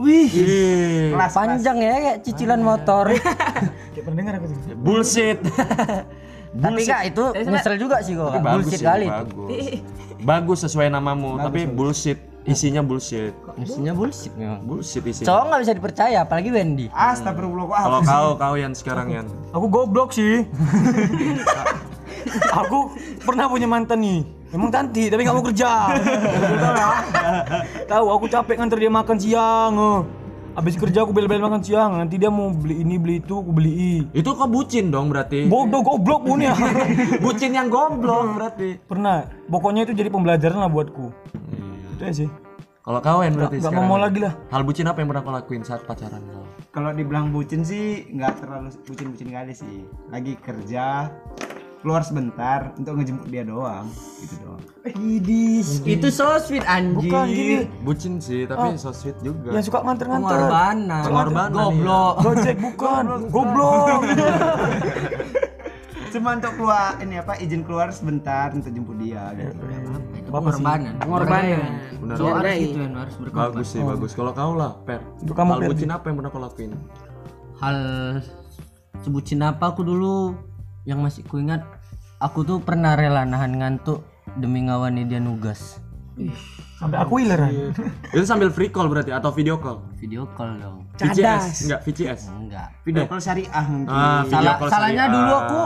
[SPEAKER 2] Wih,
[SPEAKER 3] Ih,
[SPEAKER 4] Kelas, kelas.
[SPEAKER 1] Panjang ya kayak cicilan motor.
[SPEAKER 2] kayak pernah dengar aku tuh.
[SPEAKER 3] bullshit.
[SPEAKER 1] Tapi kak itu
[SPEAKER 5] Tapi sebenarnya-
[SPEAKER 1] nyesel juga sih kok. Kak. Bullshit
[SPEAKER 3] sih,
[SPEAKER 1] kali itu.
[SPEAKER 3] bagus. bagus sesuai namamu, tapi bullshit. Isinya bullshit.
[SPEAKER 1] Mestinya bullshit memang.
[SPEAKER 3] Bullshit
[SPEAKER 1] Cowok
[SPEAKER 3] isinya.
[SPEAKER 1] nggak bisa dipercaya apalagi Wendy.
[SPEAKER 4] Astagfirullah kok
[SPEAKER 3] Kalau
[SPEAKER 4] hapus.
[SPEAKER 3] kau kau yang sekarang yang
[SPEAKER 2] Aku goblok sih. <laughs> aku pernah punya mantan nih. Emang cantik tapi nggak mau kerja. Tahu ya? Tahu aku capek nganter dia makan siang. eh. Habis kerja aku bel-bel makan siang, nanti dia mau beli ini beli itu, aku beli
[SPEAKER 3] itu kau bucin dong berarti.
[SPEAKER 2] Bodoh goblok pun ya.
[SPEAKER 3] <laughs>
[SPEAKER 2] <laughs>
[SPEAKER 3] bucin yang goblok berarti.
[SPEAKER 2] pernah. Pokoknya itu jadi pembelajaran lah buatku. Itu ya sih.
[SPEAKER 3] Kalau kau yang berarti
[SPEAKER 2] Gak
[SPEAKER 3] sekarang.
[SPEAKER 2] mau mau
[SPEAKER 3] Yan.
[SPEAKER 2] lagi lah.
[SPEAKER 3] Hal bucin apa yang pernah kau lakuin saat pacaran kau?
[SPEAKER 4] Kalau dibilang bucin sih nggak terlalu bucin-bucin kali sih. Lagi kerja keluar sebentar untuk ngejemput dia doang gitu doang.
[SPEAKER 1] Itu so sweet anjing.
[SPEAKER 2] Bukan Kan, gini.
[SPEAKER 3] Bucin sih, tapi so sweet juga.
[SPEAKER 2] Yang suka
[SPEAKER 1] Kan
[SPEAKER 2] nganter-nganter.
[SPEAKER 1] Pengorbanan.
[SPEAKER 3] Pengorbanan,
[SPEAKER 1] Goblok.
[SPEAKER 2] Gojek
[SPEAKER 1] <laughs>
[SPEAKER 2] bukan. Goblok.
[SPEAKER 4] Cuma untuk keluar ini apa izin keluar sebentar untuk jemput dia gitu.
[SPEAKER 1] Itu pengorbanan.
[SPEAKER 5] Pengorbanan.
[SPEAKER 3] Benar.
[SPEAKER 1] Ya, udah itu yang harus berkorban.
[SPEAKER 3] Bagus sih, bagus. Kalau kau lah, Per.
[SPEAKER 2] Untuk kamu,
[SPEAKER 3] Hal
[SPEAKER 2] Per.
[SPEAKER 3] bucin apa yang pernah kau lakuin?
[SPEAKER 1] hal sebutin apa aku dulu yang masih kuingat aku tuh pernah rela nahan ngantuk demi ngawani dia nugas
[SPEAKER 2] Sampai aku hileran.
[SPEAKER 3] itu sambil free call berarti atau video call?
[SPEAKER 1] video call dong
[SPEAKER 5] Cadas.
[SPEAKER 3] VCS, enggak VCS.
[SPEAKER 1] enggak
[SPEAKER 4] Video call syariah mungkin.
[SPEAKER 3] Eh. Ah, video
[SPEAKER 1] Salah-
[SPEAKER 3] call
[SPEAKER 1] salahnya
[SPEAKER 3] syariah.
[SPEAKER 1] dulu aku.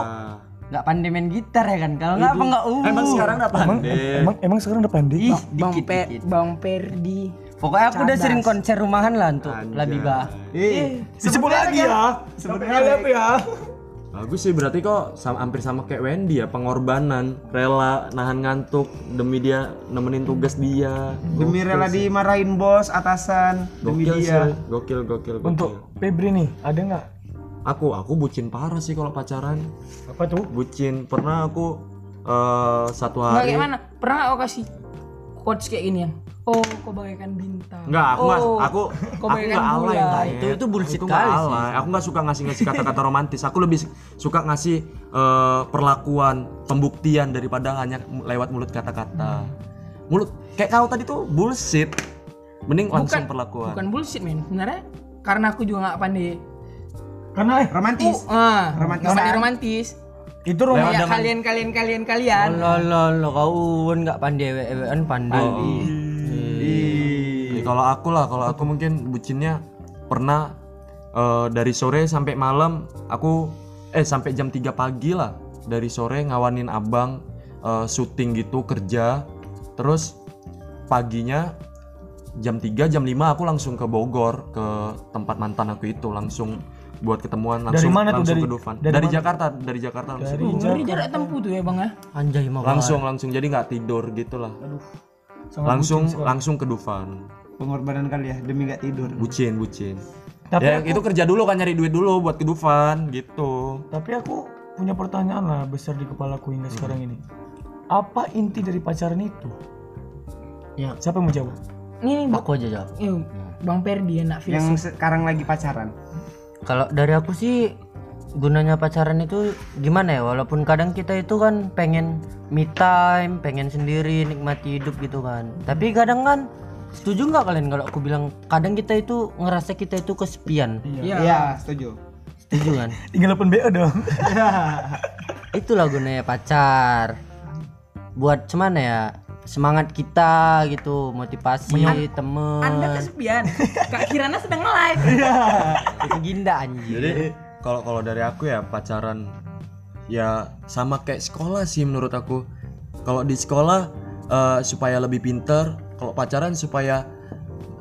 [SPEAKER 1] nggak pandai main gitar ya kan kalau nggak apa nggak uh
[SPEAKER 3] Emang Eh, sekarang udah
[SPEAKER 2] Emang,
[SPEAKER 3] pandai.
[SPEAKER 2] emang, emang sekarang udah pandai.
[SPEAKER 1] Iya. ih
[SPEAKER 5] Bang,
[SPEAKER 1] dikit,
[SPEAKER 5] Pe-
[SPEAKER 1] dikit.
[SPEAKER 5] Bang Perdi.
[SPEAKER 1] pokoknya aku udah
[SPEAKER 5] Cadas.
[SPEAKER 1] sering konser rumahan lah untuk
[SPEAKER 3] Anjay.
[SPEAKER 1] Labiba
[SPEAKER 4] Eh,
[SPEAKER 2] Disebut lagi ya. Sebenarnya apa ya?
[SPEAKER 3] Bagus sih berarti kok sama, hampir sama kayak Wendy ya pengorbanan, rela nahan ngantuk demi dia nemenin tugas dia.
[SPEAKER 4] demi rela dimarahin bos, atasan, demi
[SPEAKER 3] Gokil sih,
[SPEAKER 4] dia.
[SPEAKER 3] gokil gokil gokil.
[SPEAKER 2] Untuk Febri nih, ada nggak?
[SPEAKER 3] aku aku bucin parah sih kalau pacaran.
[SPEAKER 2] Apa tuh?
[SPEAKER 3] Bucin pernah aku eh, satu
[SPEAKER 5] Enggak
[SPEAKER 3] hari.
[SPEAKER 5] kayak mana? Pernah nggak aku kasih quotes kayak gini ya? Oh, kau bagaikan bintang.
[SPEAKER 3] Enggak, aku nggak-
[SPEAKER 5] Oh,
[SPEAKER 3] aku
[SPEAKER 5] kau
[SPEAKER 3] aku
[SPEAKER 5] bagaikan
[SPEAKER 3] nggak alay
[SPEAKER 5] bulan.
[SPEAKER 3] Tanya.
[SPEAKER 1] itu- itu bullshit
[SPEAKER 3] nggak
[SPEAKER 1] kali sih.
[SPEAKER 3] alay. Aku nggak suka ngasih-ngasih kata-kata romantis. Aku lebih suka ngasih eh, perlakuan, pembuktian daripada hanya mu- lewat mulut
[SPEAKER 1] Hmm.
[SPEAKER 3] kata-kata. Mulut kayak kau tadi tuh bullshit. Mending langsung perlakuan.
[SPEAKER 5] Bukan bullshit, men. Sebenarnya karena aku juga nggak pandai.
[SPEAKER 2] Karena eh,
[SPEAKER 4] Romantis.
[SPEAKER 5] Ah,
[SPEAKER 4] Romantisan.
[SPEAKER 5] nggak pandai romantis.
[SPEAKER 2] itu rumah.
[SPEAKER 5] Kayak kalian kalian kalian kalian.
[SPEAKER 1] lo lo lo kau nggak pandai ewean Kan pandai
[SPEAKER 3] Ih, Iya, Kalau aku lah, kalau aku mungkin bucinnya pernah eh, dari sore sampai malam aku eh sampai jam 3 pagi lah. Dari sore ngawanin abang eh, syuting gitu kerja. Terus paginya jam 3 jam 5 aku langsung ke Bogor ke tempat mantan aku itu langsung buat ketemuan langsung
[SPEAKER 2] mana tuh?
[SPEAKER 3] langsung
[SPEAKER 2] Dari-
[SPEAKER 3] ke Dufan.
[SPEAKER 2] dari
[SPEAKER 3] Dari, Jakarta, dari Jakarta langsung.
[SPEAKER 2] Dari
[SPEAKER 5] Ngeri jarak tempuh tuh ya, Bang ya.
[SPEAKER 1] anjay mau
[SPEAKER 3] Langsung langsung jadi nggak tidur gitulah.
[SPEAKER 2] sangat
[SPEAKER 3] Langsung langsung ke Dufan.
[SPEAKER 4] Pengorbanan kali ya demi gak tidur.
[SPEAKER 3] bucin bucin
[SPEAKER 2] Tapi
[SPEAKER 3] ya itu kerja dulu kan nyari duit dulu buat ke Dufan gitu
[SPEAKER 2] Tapi aku punya pertanyaan lah besar di kepalaku hingga sekarang ini. Apa inti dari pacaran itu?
[SPEAKER 1] Ya.
[SPEAKER 2] Siapa yang mau jawab?
[SPEAKER 5] Nih, nih, Bang.
[SPEAKER 1] aku aja jawab
[SPEAKER 5] Eh, Bang Perdi anak filsuf.
[SPEAKER 4] Yang sekarang lagi pacaran.
[SPEAKER 1] Kalau dari aku sih gunanya pacaran itu gimana ya walaupun kadang kita itu kan pengen me time, pengen sendiri nikmati hidup gitu kan. Tapi kadang kan setuju nggak kalian kalau aku bilang kadang kita itu ngerasa kita itu kesepian.
[SPEAKER 4] Iya, setuju.
[SPEAKER 1] Setuju
[SPEAKER 3] <laughs>
[SPEAKER 1] kan?
[SPEAKER 2] Tinggal 8 BO dong.
[SPEAKER 1] Itulah gunanya pacar. Buat cuman ya semangat kita gitu motivasi temen
[SPEAKER 5] Anda <laughs> kesepian. Kak Kirana sedang live.
[SPEAKER 1] itu ginda anjir
[SPEAKER 3] Jadi kalau kalau dari aku ya pacaran ya sama kayak sekolah sih menurut aku. Kalau di sekolah eh, supaya lebih pinter, kalau pacaran supaya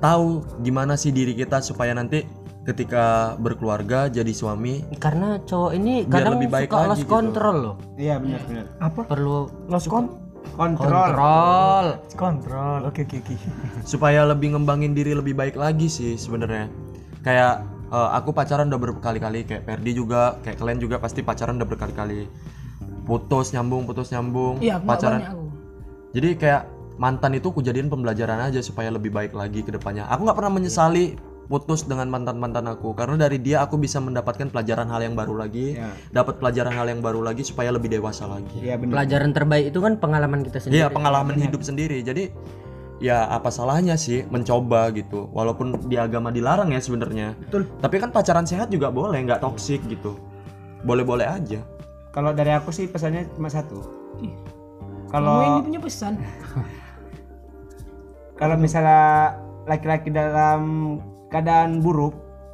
[SPEAKER 3] tahu gimana sih diri kita supaya nanti ketika berkeluarga jadi suami
[SPEAKER 1] karena cowok ini
[SPEAKER 3] Biar
[SPEAKER 1] kadang
[SPEAKER 3] lebih baik
[SPEAKER 1] suka
[SPEAKER 3] lagi
[SPEAKER 1] lost
[SPEAKER 3] gitu.
[SPEAKER 1] control loh
[SPEAKER 4] Iya benar benar.
[SPEAKER 2] <laughs> apa
[SPEAKER 1] perlu
[SPEAKER 2] lost con
[SPEAKER 4] Kontrol.
[SPEAKER 1] kontrol
[SPEAKER 2] control oke oke oke
[SPEAKER 3] supaya lebih ngembangin diri lebih baik lagi sih sebenarnya. Kayak eh, aku pacaran udah berkali-kali kayak Perdi juga, kayak kalian juga pasti pacaran udah berkali-kali. Putus nyambung, putus nyambung,
[SPEAKER 5] Iya, aku nggak
[SPEAKER 3] pacaran
[SPEAKER 5] banyak aku.
[SPEAKER 3] Jadi kayak mantan itu kujadiin pembelajaran aja supaya lebih baik lagi ke depannya. Aku nggak pernah menyesali putus dengan mantan-mantan aku karena dari dia aku bisa mendapatkan pelajaran hal yang baru lagi,
[SPEAKER 4] Ya.
[SPEAKER 3] dapat pelajaran hal yang baru lagi supaya lebih dewasa lagi.
[SPEAKER 4] Iya benar.
[SPEAKER 1] pelajaran terbaik itu kan pengalaman kita sendiri
[SPEAKER 3] Iya, pengalaman hidup sendiri. Jadi ya apa salahnya sih mencoba gitu. Walaupun di agama dilarang ya sebenarnya. Tapi kan pacaran sehat juga boleh, nggak toksik gitu. Boleh-boleh aja.
[SPEAKER 4] Kalau dari aku sih pesannya cuma satu.
[SPEAKER 5] Ih. Kamu ini
[SPEAKER 4] Kalau
[SPEAKER 5] punya pesan.
[SPEAKER 4] <laughs> kalau misalnya laki-laki dalam keadaan buruk,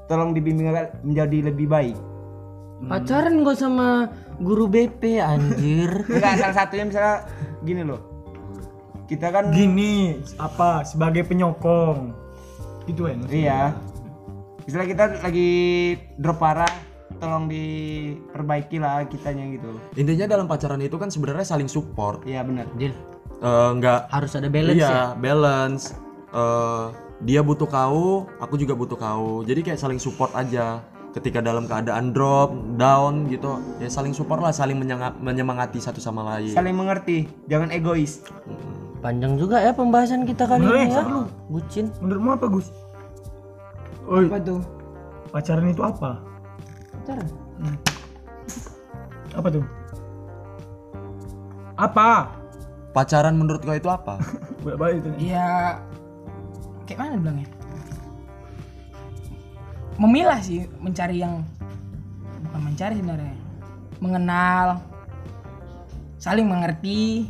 [SPEAKER 4] tolong dibimbing agar menjadi lebih baik.
[SPEAKER 1] pacaran gak sama guru BP
[SPEAKER 4] <laughs>
[SPEAKER 1] anjir
[SPEAKER 4] Enggak salah satunya misalnya gini loh. Kita kan
[SPEAKER 2] gini apa sebagai penyokong gitu kan
[SPEAKER 4] Iya. Misalnya kita lagi drop parah, tolong diperbaiki lah kitanya gitu.
[SPEAKER 3] Intinya dalam pacaran itu kan sebenarnya saling support.
[SPEAKER 4] Iya benar.
[SPEAKER 1] Dil,
[SPEAKER 3] Eh, Nggak
[SPEAKER 1] harus ada balance
[SPEAKER 3] iya,
[SPEAKER 1] ya
[SPEAKER 3] balance. Eh, dia butuh kau, aku juga butuh kau. Jadi kayak saling support aja. Ketika dalam keadaan drop, down gitu, ya saling support lah, saling menyanga- menyemangati satu sama lain.
[SPEAKER 4] Saling mengerti, jangan egois.
[SPEAKER 1] panjang juga ya pembahasan kita kali
[SPEAKER 2] Boleh,
[SPEAKER 1] ini ya
[SPEAKER 2] seru.
[SPEAKER 1] bucin
[SPEAKER 2] menurutmu apa Gus Oi,
[SPEAKER 5] Apa tuh?
[SPEAKER 2] pacaran itu apa Hmm.
[SPEAKER 5] Pacaran.
[SPEAKER 2] apa tuh apa
[SPEAKER 3] Pacaran menurut kau itu apa?
[SPEAKER 2] baik baik tanya
[SPEAKER 5] Ya kayak mana bilangnya? Memilah sih, mencari yang bukan mencari sebenarnya. Mengenal saling mengerti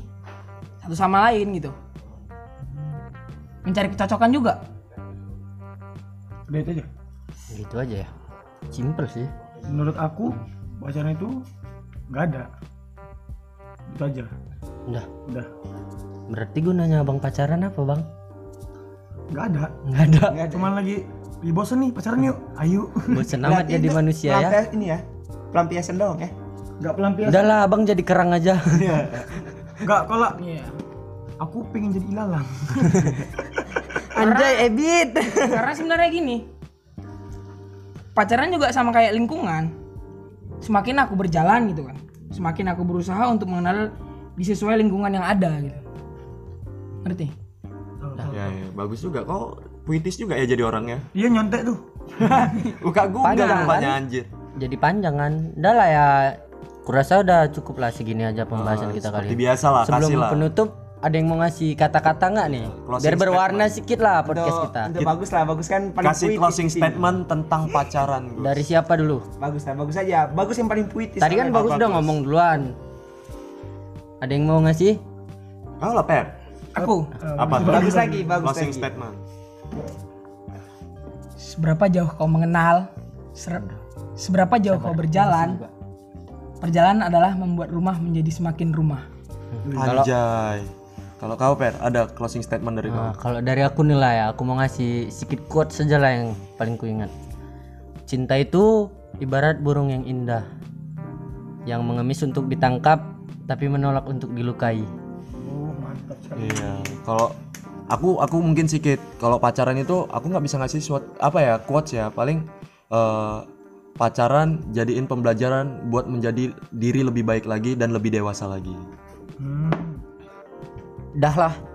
[SPEAKER 5] satu sama lain gitu. Mencari kecocokan juga.
[SPEAKER 2] udah itu aja
[SPEAKER 1] gitu aja ya simple sih
[SPEAKER 2] menurut aku pacaran itu nggak ada itu aja
[SPEAKER 1] udah
[SPEAKER 2] udah
[SPEAKER 1] berarti gunanya abang pacaran apa bang
[SPEAKER 2] nggak ada
[SPEAKER 1] nggak ada
[SPEAKER 2] cuman lagi "Ih, bosen nih pacaran yuk ayo
[SPEAKER 1] bosen amat jadi manusia ya
[SPEAKER 4] Pelampias- ini ya. Pelampiasan doang ya.
[SPEAKER 2] nggak pelampiasan
[SPEAKER 1] udahlah abang jadi kerang aja <laughs>
[SPEAKER 2] nggak kalau
[SPEAKER 5] Iya.
[SPEAKER 2] aku pengen jadi ilalang
[SPEAKER 1] anjay ebit
[SPEAKER 5] Karena sebenarnya gini, pacaran juga sama kayak lingkungan. Semakin aku berjalan gitu kan, semakin aku berusaha untuk mengenal di sesuai lingkungan yang ada gitu. Ngerti?
[SPEAKER 3] ya, ya, bagus juga. Kau puitis juga ya jadi
[SPEAKER 4] <laughs>
[SPEAKER 3] orangnya.
[SPEAKER 2] dia nyontek tuh
[SPEAKER 3] Buka Google
[SPEAKER 1] Panjang,
[SPEAKER 3] nampaknya anjir.
[SPEAKER 1] jadi panjangan udah lah ya kurasa udah cukup lah segini aja pembahasan kita kali
[SPEAKER 3] Seperti
[SPEAKER 1] ini
[SPEAKER 3] biasa lah,
[SPEAKER 1] sebelum
[SPEAKER 3] kasih lah.
[SPEAKER 1] penutup ada yang mau ngasih kata-kata nggak nih
[SPEAKER 3] Closing
[SPEAKER 1] biar berwarna sedikit lah podcast
[SPEAKER 4] Untuk-
[SPEAKER 1] kita
[SPEAKER 4] untuk bagus lah, bagus kan paling
[SPEAKER 3] Kasih
[SPEAKER 4] puitis
[SPEAKER 3] closing
[SPEAKER 4] sih.
[SPEAKER 3] statement tentang pacaran. Gus.
[SPEAKER 1] dari siapa dulu
[SPEAKER 4] Bagus lah, bagus aja. Bagus yang paling puitis.
[SPEAKER 1] tadi kan
[SPEAKER 4] Apa-
[SPEAKER 1] bagus udah ngomong duluan ada yang mau ngasih
[SPEAKER 3] Kau lah Per.
[SPEAKER 5] Aku,
[SPEAKER 3] Apa?
[SPEAKER 4] Oh. Bagus lagi, bagus
[SPEAKER 3] Closing
[SPEAKER 4] lagi.
[SPEAKER 3] statement.
[SPEAKER 5] seberapa jauh kau mengenal, ser- seberapa jauh kau berjalan, perjalanan adalah membuat rumah menjadi semakin rumah.
[SPEAKER 4] Hmm.
[SPEAKER 3] Anjay. Kalau kau Per, ada closing statement dari kau.
[SPEAKER 1] Nah, kalau dari aku nih lah ya aku mau ngasih sedikit quote saja lah yang paling ku ingat cinta itu ibarat burung yang indah yang mengemis untuk ditangkap tapi menolak untuk dilukai
[SPEAKER 3] Iya, kalau aku aku mungkin sedikit kalau pacaran itu aku nggak bisa ngasih suat apa ya quotes ya paling eh, pacaran jadiin pembelajaran buat menjadi diri lebih baik lagi dan lebih dewasa lagi.
[SPEAKER 1] dah lah